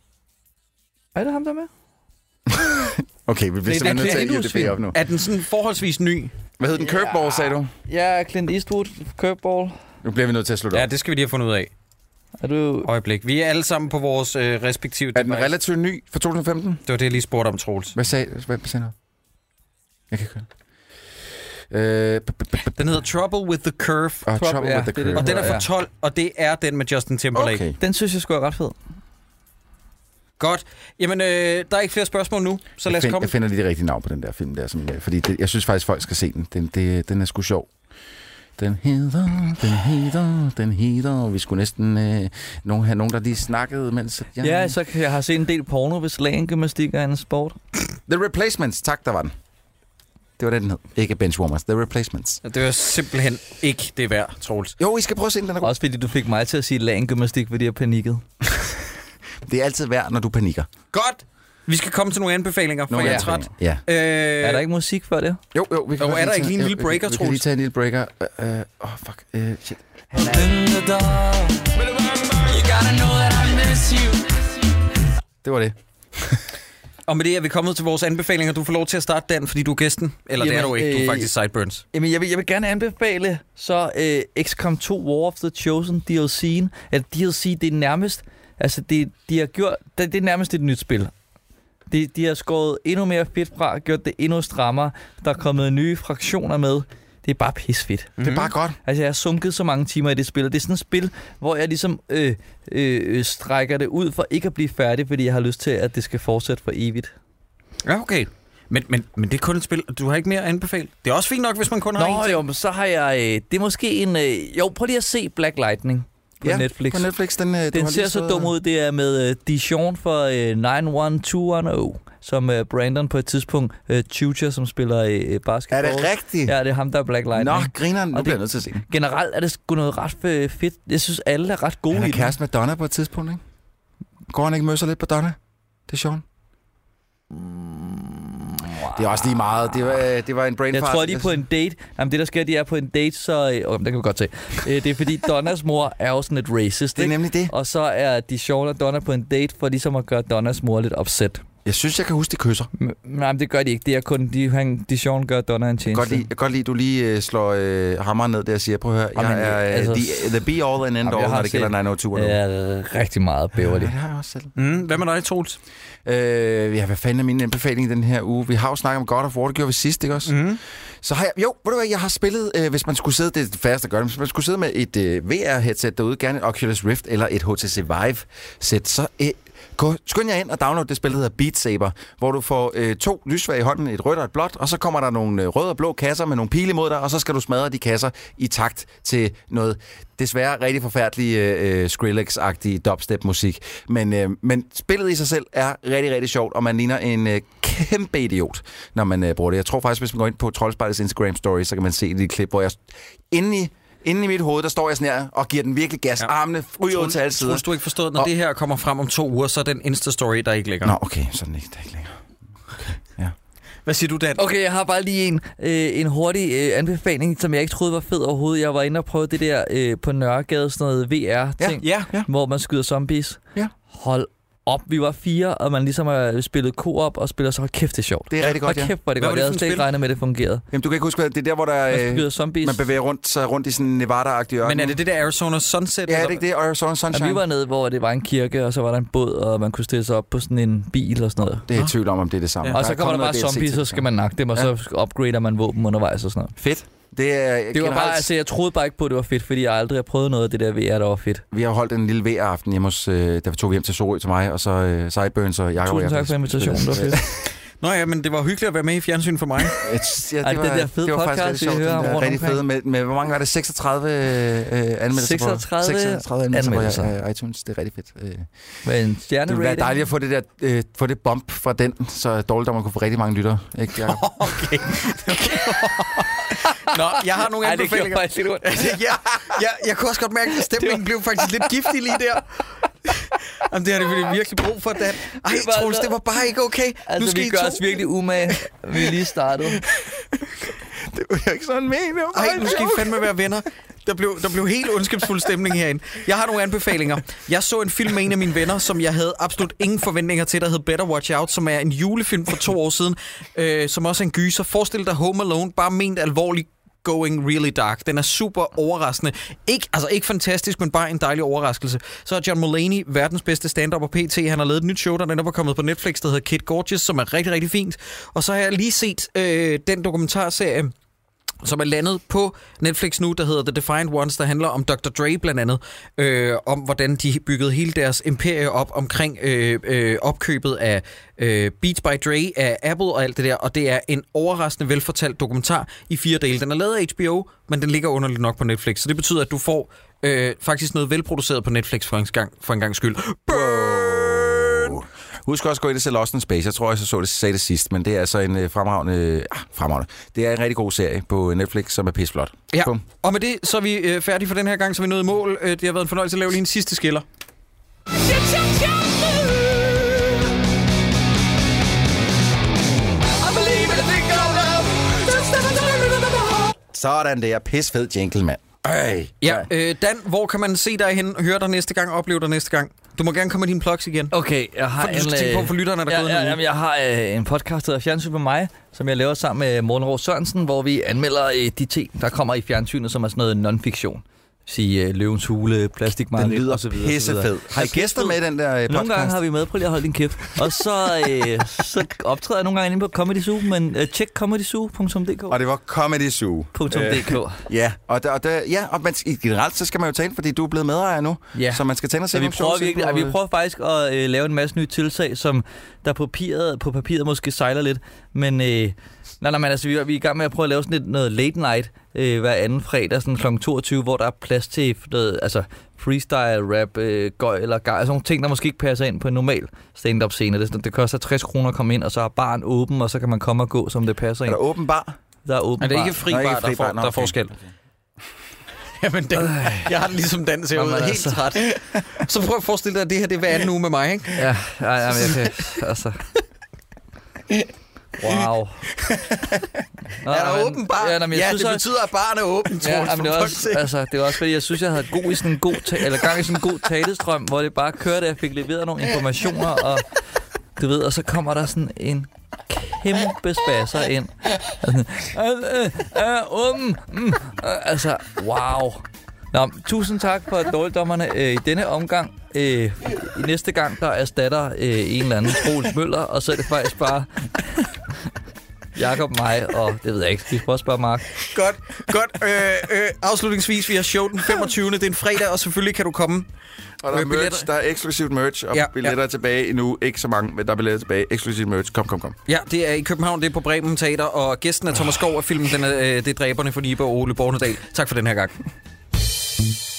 F: Er det ham, der er med?
E: Okay, vi bliver
D: Det er
E: simpelthen nødt
D: den
E: til at
D: Clint
E: IMDb op nu.
D: Er den sådan forholdsvis ny?
E: Hvad hed den? Curveball, sagde du?
F: Ja, Clint Eastwood, Curveball.
E: Nu bliver vi nødt til at slutte
D: Ja,
E: op.
D: det skal vi lige have fundet ud af.
F: Er du...
D: Øjeblik. Vi er alle sammen på vores øh, respektive...
E: Er den
D: device.
E: relativt ny fra 2015?
D: Det var det, jeg lige spurgte om, Troels.
E: Hvad sagde Hvad sagde du? Jeg kan ikke høre. Øh, b- b- b-
D: Den hedder Trouble with the Curve,
E: og
F: Trouble,
E: Trouble
F: ja,
E: with the
F: det er det,
E: Curve.
D: og den er
F: hedder,
D: fra 12, og det er den med Justin Timberlake. Okay.
E: Okay.
F: Den synes jeg skulle er ret fed.
D: Godt. Jamen, øh, der er ikke flere spørgsmål nu, så lad
E: Jeg,
D: os
E: find,
D: komme.
E: jeg finder lige det rigtige navn på den der film der, som jeg, fordi det, jeg synes faktisk, folk skal se den. Den, det, den er sgu sjov. Den hedder, den hedder, den hedder. Vi skulle næsten øh, nogen, have nogen, der lige snakkede, mens... at Jeg...
F: Ja, så kan jeg har set en del porno, hvis lægengymnastik er en sport.
E: The Replacements, tak, der var den. Det var den, den hed. Ikke Benchwarmers, The Replacements.
D: Det var simpelthen ikke det værd, Troels.
E: Jo, I skal prøve at se den, den er god.
F: Også fordi du fik mig til at sige lægengymnastik, fordi jeg panikkede.
E: Det er altid værd, når du panikker.
D: Godt! Vi skal komme til nogle anbefalinger, for
E: Nogle
D: jeg er træt.
E: anbefalinger. Ja.
D: Øh,
F: Øh. Er der ikke musik før det?
E: Jo, jo, vi kan
D: Og
E: godt
D: er der
E: tage-
D: ikke lige en
E: jo,
D: lille
E: vi kan-
D: breaker,
E: Vi kan
D: Troels?
E: lige tage en lille breaker. Åh, uh, uh, oh, fuck. Uh, shit. Det var det.
D: og med det er vi kommet til vores anbefalinger. Du får lov til at starte den, fordi du er gæsten. Eller Jamen, det er
F: Jamen,
D: du ikke, du er
F: øh,
D: faktisk Sideburns.
F: Jamen, jeg vil, jeg vil gerne anbefale så øh, XCOM 2 War of the Chosen DLC'en. At DLC, det er nærmest... Altså, det, de har gjort... Det, det er nærmest et nyt spil. De, de har skåret endnu mere fedt fra, gjort det endnu strammere. Der er kommet nye fraktioner med. Det er bare pisfedt.
E: Det er bare godt.
F: Altså, jeg har sunket så mange timer i det spil, og det er sådan et spil, hvor jeg ligesom øh, øh, øh, strækker det ud for ikke at blive færdig, fordi jeg har lyst til, at det skal fortsætte for evigt.
D: Mhm. Ja, okay. Men, men, men det er kun et spil, og du har ikke mere at anbefale. Det er også fint nok, hvis man kun har en
F: Nå
D: ting.
F: jo, men så har jeg... Øh, det er måske en... Øh, jo, prøv lige at se Black Lightning på ja, Netflix.
E: På Netflix, den, øh, du har
F: Den
E: lige
F: ser så
E: siddet-
F: dum ud. Det er med øh, Dijon fra øh, 91210, som øh, Brandon på et tidspunkt, øh, Tutor, som spiller øh,
E: Er
F: basketball.
E: det rigtigt?
F: Ja, det er ham, der er Black Lightning.
E: Nå, grineren, nu
F: Og
E: bliver jeg
F: det-
E: nødt til at se den.
F: Generelt er det sgu noget ret fe- fedt. Jeg synes, alle er ret gode
E: Han
F: i
E: er
F: det.
E: kæreste med Donna på et tidspunkt, ikke? Går han ikke møsser lidt på Donna? Det er sjovt. Det er også lige meget. Det var, øh, det var en brain
F: Jeg
E: fart.
F: tror, de er på en date. Jamen, det der sker, de er på en date, så... Øh, oh, den kan vi godt se. Øh, det er fordi, Donnas mor er jo sådan lidt racist,
E: Det er
F: ikke?
E: nemlig det.
F: Og så er Dijon og Donna på en date for ligesom at gøre Donnas mor lidt opsat.
E: Jeg synes, jeg kan huske, de kysser.
F: Nej, men det gør de ikke. Det er kun, de, han, Dijon gør Donna en
E: Jeg
F: tjeneste.
E: kan godt lide, jeg kan godt lide, du lige øh, slår øh, hammeren ned der og siger, prøv at høre, jeg
F: Jamen,
E: er øh,
F: altså-
E: the, the be all and end
F: Jamen, jeg
E: all,
F: har
E: når det
F: set-
E: gælder 902 ja.
F: Ja, rigtig meget Beverly.
E: det har jeg også selv.
D: Mm, hvad med dig, Troels?
E: Øh, ja, hvad fanden er min anbefaling den her uge? Vi har jo snakket om God of War, det gjorde vi sidst, ikke også?
D: Mm.
E: Så har jeg, jo, ved du hvad, jeg har spillet, øh, hvis man skulle sidde, det er det færreste at gøre, men hvis man skulle sidde med et øh, VR-headset derude, gerne et Oculus Rift eller et HTC Vive-sæt, så øh, gå, skynd jer ind og download det spil, der hedder Beat Saber, hvor du får øh, to lysfag i hånden, et rødt og et blåt, og så kommer der nogle øh, røde og blå kasser med nogle pile mod dig, og så skal du smadre de kasser i takt til noget desværre rigtig forfærdelig øh, øh, Skrillex-agtig dubstep-musik. Men, øh, men spillet i sig selv er rigtig, rigtig sjovt, og man ligner en øh, kæmpe idiot, når man øh, bruger det. Jeg tror faktisk, hvis man går ind på Troldspejlets Instagram story, så kan man se et lille klip, hvor jeg inde i, inde i mit hoved, der står jeg sådan her og giver den virkelig gas.
D: Ja.
E: Ja. Armene ryger ud til alle sider.
D: Troels, du har ikke forstået, når
E: Og-
D: det her kommer frem om to uger, så er den Insta-story, der ikke ligger.
E: Nå, okay, sådan ikke, der er ikke længere.
D: Hvad siger du, Dan?
F: Okay, jeg har bare lige en, øh, en hurtig øh, anbefaling, som jeg ikke troede var fed overhovedet. Jeg var inde og prøve det der øh, på Nørregade, sådan noget VR-ting,
D: Ja,
E: ja.
F: hvor man skyder zombies.
E: Ja.
F: Hold op, vi var fire, og man ligesom har spillet co-op og spiller så hold kæft, det er sjovt.
E: Det er rigtig godt,
F: hold
E: ja.
F: kæft, hvor er det
D: Hvad var
F: godt.
D: det
F: Jeg
D: for
F: havde
D: et
F: slet ikke
D: spil?
F: regnet med, at det fungerede.
E: Jamen, du kan ikke huske, hvad det er der, hvor der,
F: Man
E: øh,
F: skyder zombies.
E: man bevæger rundt, sig rundt i sådan en Nevada-agtig ørken.
D: Men er det det der Arizona Sunset?
E: Ja, er
D: eller
E: det ikke det? Arizona Sunshine?
F: Og vi var nede, hvor det var en kirke, og så var der en båd, og man kunne stille sig op på sådan en bil og sådan noget.
E: Det er jeg i tvivl om, om det er det samme.
D: Ja.
F: Og
E: er
F: så kommer der
E: kommet
F: bare
E: noget DLC
F: zombies,
E: til
F: så
E: det.
F: skal man nakke dem, og så upgrader man våben undervejs og sådan noget.
E: Fedt. Det er det
F: Det var
E: generelt,
F: bare, altså, jeg troede bare ikke på, at det var fedt, fordi jeg aldrig har prøvet noget af det der VR, der var fedt.
E: Vi har holdt en lille VR-aften hjemme hos... Øh, der tog vi hjem til Sorø til mig, og så øh, Sideburns og Jacob.
F: Tusind tak for invitationen, det var (laughs) fedt.
D: Nå ja, men det var hyggeligt at være med i fjernsyn for mig.
E: (laughs)
F: (laughs)
E: Ja,
F: Ej, den der fede
E: det var faktisk
F: podcast,
E: rigtig
F: vi
E: sjovt, den
F: hører
E: der,
F: rundt
E: rigtig
F: omkring.
E: fede med, med, hvor mange var det? 36 øh, anmeldelser
F: 36
E: på, 36 anmeldelser,
F: anmeldelser.
E: på øh, iTunes. Det er rigtig fedt. Øh, det
F: Men en
E: ville være
F: stjernerating.
E: dejligt at få det, der, øh, få det bump fra den, så dårligt, at man kunne få rigtig mange lyttere. Ikke,
F: (laughs)
E: Jacob?
D: Okay. Nå, jeg har nogle
F: Ej, det gjorde
D: anbefalinger.
F: faktisk lidt ondt.
D: (laughs) ja, jeg, jeg kunne også godt mærke, at stemningen blev faktisk lidt giftig lige
F: (laughs)
D: der. Jamen, det har det virkelig brug for, Dan. Ej,
F: Det var-
D: Troels, det var bare ikke okay. nu
F: Altså,
D: skal
F: vi
D: I
F: gør
D: to...
F: os virkelig umage. Vi er lige startet.
E: det var jo ikke sådan men.
D: Ej, nu skal I fandme være venner. Der blev, der blev helt ondskabsfuld stemning herinde. Jeg har nogle anbefalinger. Jeg så en film med en af mine venner, som jeg havde absolut ingen forventninger til, der hed Better Watch Out, som er en julefilm for to år siden, øh, som også er en gyser. Forestil dig Home Alone, bare ment alvorligt Going Really Dark. Den er super overraskende. Ikke, altså ikke fantastisk, men bare en dejlig overraskelse. Så er John Mulaney verdens bedste stand-up og PT. Han har lavet et nyt show, der netop er kommet på Netflix, der hedder Kid Gorgeous, som er rigtig, rigtig fint. Og så har jeg lige set øh, den dokumentarserie, som er landet på Netflix nu, der hedder The Defiant Ones, der handler om Dr. Dre blandt andet, øh, om hvordan de byggede hele deres imperie op omkring øh, øh, opkøbet af øh, Beats by Dre, af Apple og alt det der, og det er en overraskende velfortalt dokumentar i fire dele. Den er lavet af HBO, men den ligger underligt nok på Netflix, så det betyder, at du får øh, faktisk noget velproduceret på Netflix for en gang, for en gang skyld.
E: Husk også at gå ind og se Lost in Space. Jeg tror også, jeg så det, sagde det sidst, men det er altså en øh, fremragende... Ah, fremragende. Det er en rigtig god serie på Netflix, som er pisseflot.
D: Ja,
E: Bum.
D: og med det, så er vi øh, færdige for den her gang, så er vi nået i mål. Øh, det har været en fornøjelse at lave lige en sidste skiller.
E: Sådan der. Pissfed gentleman. Øj.
D: Ja, øh, Dan, hvor kan man se dig hen, høre dig næste gang, opleve dig næste gang? Du må gerne komme med dine plugs igen.
F: øh, Okay, jeg har
D: For du skal
F: en,
D: tænke på,
F: øh,
D: for lytterne, der er
F: ja,
D: gået en
F: ja,
D: uge.
F: jamen, jeg har øh, en podcast, der hedder Fjernsyn med mig, som jeg laver sammen med Morten Rå Sørensen, hvor vi anmelder øh, de ting, der kommer i fjernsynet, som er sådan noget non-fiktion. sige øh, løvens hule, plastikmarked
E: Den lyder
F: og så videre, og så videre.
E: pissefed. Har I gæster med i den der øh, podcast?
F: Nogle gange har vi med, prøv lige at holde din kæft. Og så, øh,
E: (laughs)
F: så optræder jeg nogle gange inde på Comedy Zoo, men øh, tjek comedysoo.dk.
E: Og det Øh, var Comedy Zoo.
F: .dk.
E: Ja, og, der, og, der, ja, og man, i- generelt så skal man jo tale, fordi du er blevet medejer nu.
F: Ja.
E: Så man skal tænde og se
F: Så vi
E: nogle
F: prøver,
E: shows ind
F: virkelig,
E: på,
F: ej, vi
E: øh,
F: prøver faktisk at øh, lave en masse nye tiltag, som der på papiret, på papiret måske sejler lidt. Men, øh, nej, nej, men altså, vi, er- vi er i gang med at prøve at lave sådan lidt noget late night øh, hver anden fredag, sådan kl. 22, hvor der er plads til noget, altså freestyle, rap, øh, gøj eller gej, altså nogle ting, der måske ikke passer ind på en normal stand-up scene. Det, er sådan, det koster 60 kroner at komme ind, og så er baren åben, og så kan man komme og gå, som det passer
E: Er
F: ind.
E: der åben bar?
F: Der er åben
D: Er det
F: bar.
D: ikke fri
E: Nå,
D: bar,
E: ikke
D: der,
E: fri
D: får,
E: bar, nå,
D: der er
E: okay.
D: forskel? (laughs) Jamen, den, jeg har det ligesom dans
F: Nå,
D: herude,
F: men
D: helt
F: altså.
D: træt. (laughs) Så prøv at forestille dig, at det her det er hver anden uge med mig, ikke?
F: Ja, ja, ja men jeg kan, altså...
D: (laughs)
F: Wow. Nå,
D: Er der
F: men-
D: åben bar?
F: Ja, nej, men jeg
D: ja
F: synes,
D: det
F: også-
D: betyder, at baren er åben, Troels.
F: (laughs) Ja, men det
D: for
F: var
D: fuck's
F: også,
D: sake.
F: altså, det var også fordi, jeg synes, jeg havde god i sådan en god ta- eller gang i sådan en god talestrøm, hvor det bare kørte, og jeg fik leveret nogle informationer, og du ved, og så kommer der sådan en kæmpe spasser ind. Øh, øh, øh, um, mm, øh, altså, wow. Nå, men tusind tak for dårligdommerne øh, i denne omgang. Øh, I næste gang, der erstatter øh, en eller anden Troels Møller, og så er det faktisk bare (laughs) Jakob, mig og det ved jeg ikke. Vi prøver også bare Mark.
D: Godt, godt. Øh, øh, afslutningsvis, vi har show den 25. Det er en fredag, og selvfølgelig kan du komme.
E: Og der er,
D: Med billetter.
E: merch, der er eksklusivt merch, og
D: Ja,
E: ja,
D: ja.
E: billetter ja. tilbage endnu. Ikke så mange, men der er billetter tilbage. Eksklusivt merch. Kom, kom, kom.
D: Ja, det er i København, det er på Bremen Teater, og gæsten er Thomas Skov, og filmen den er, øh, det er Dræberne for Nibe og Ole Bornedal. Tak for den her gang.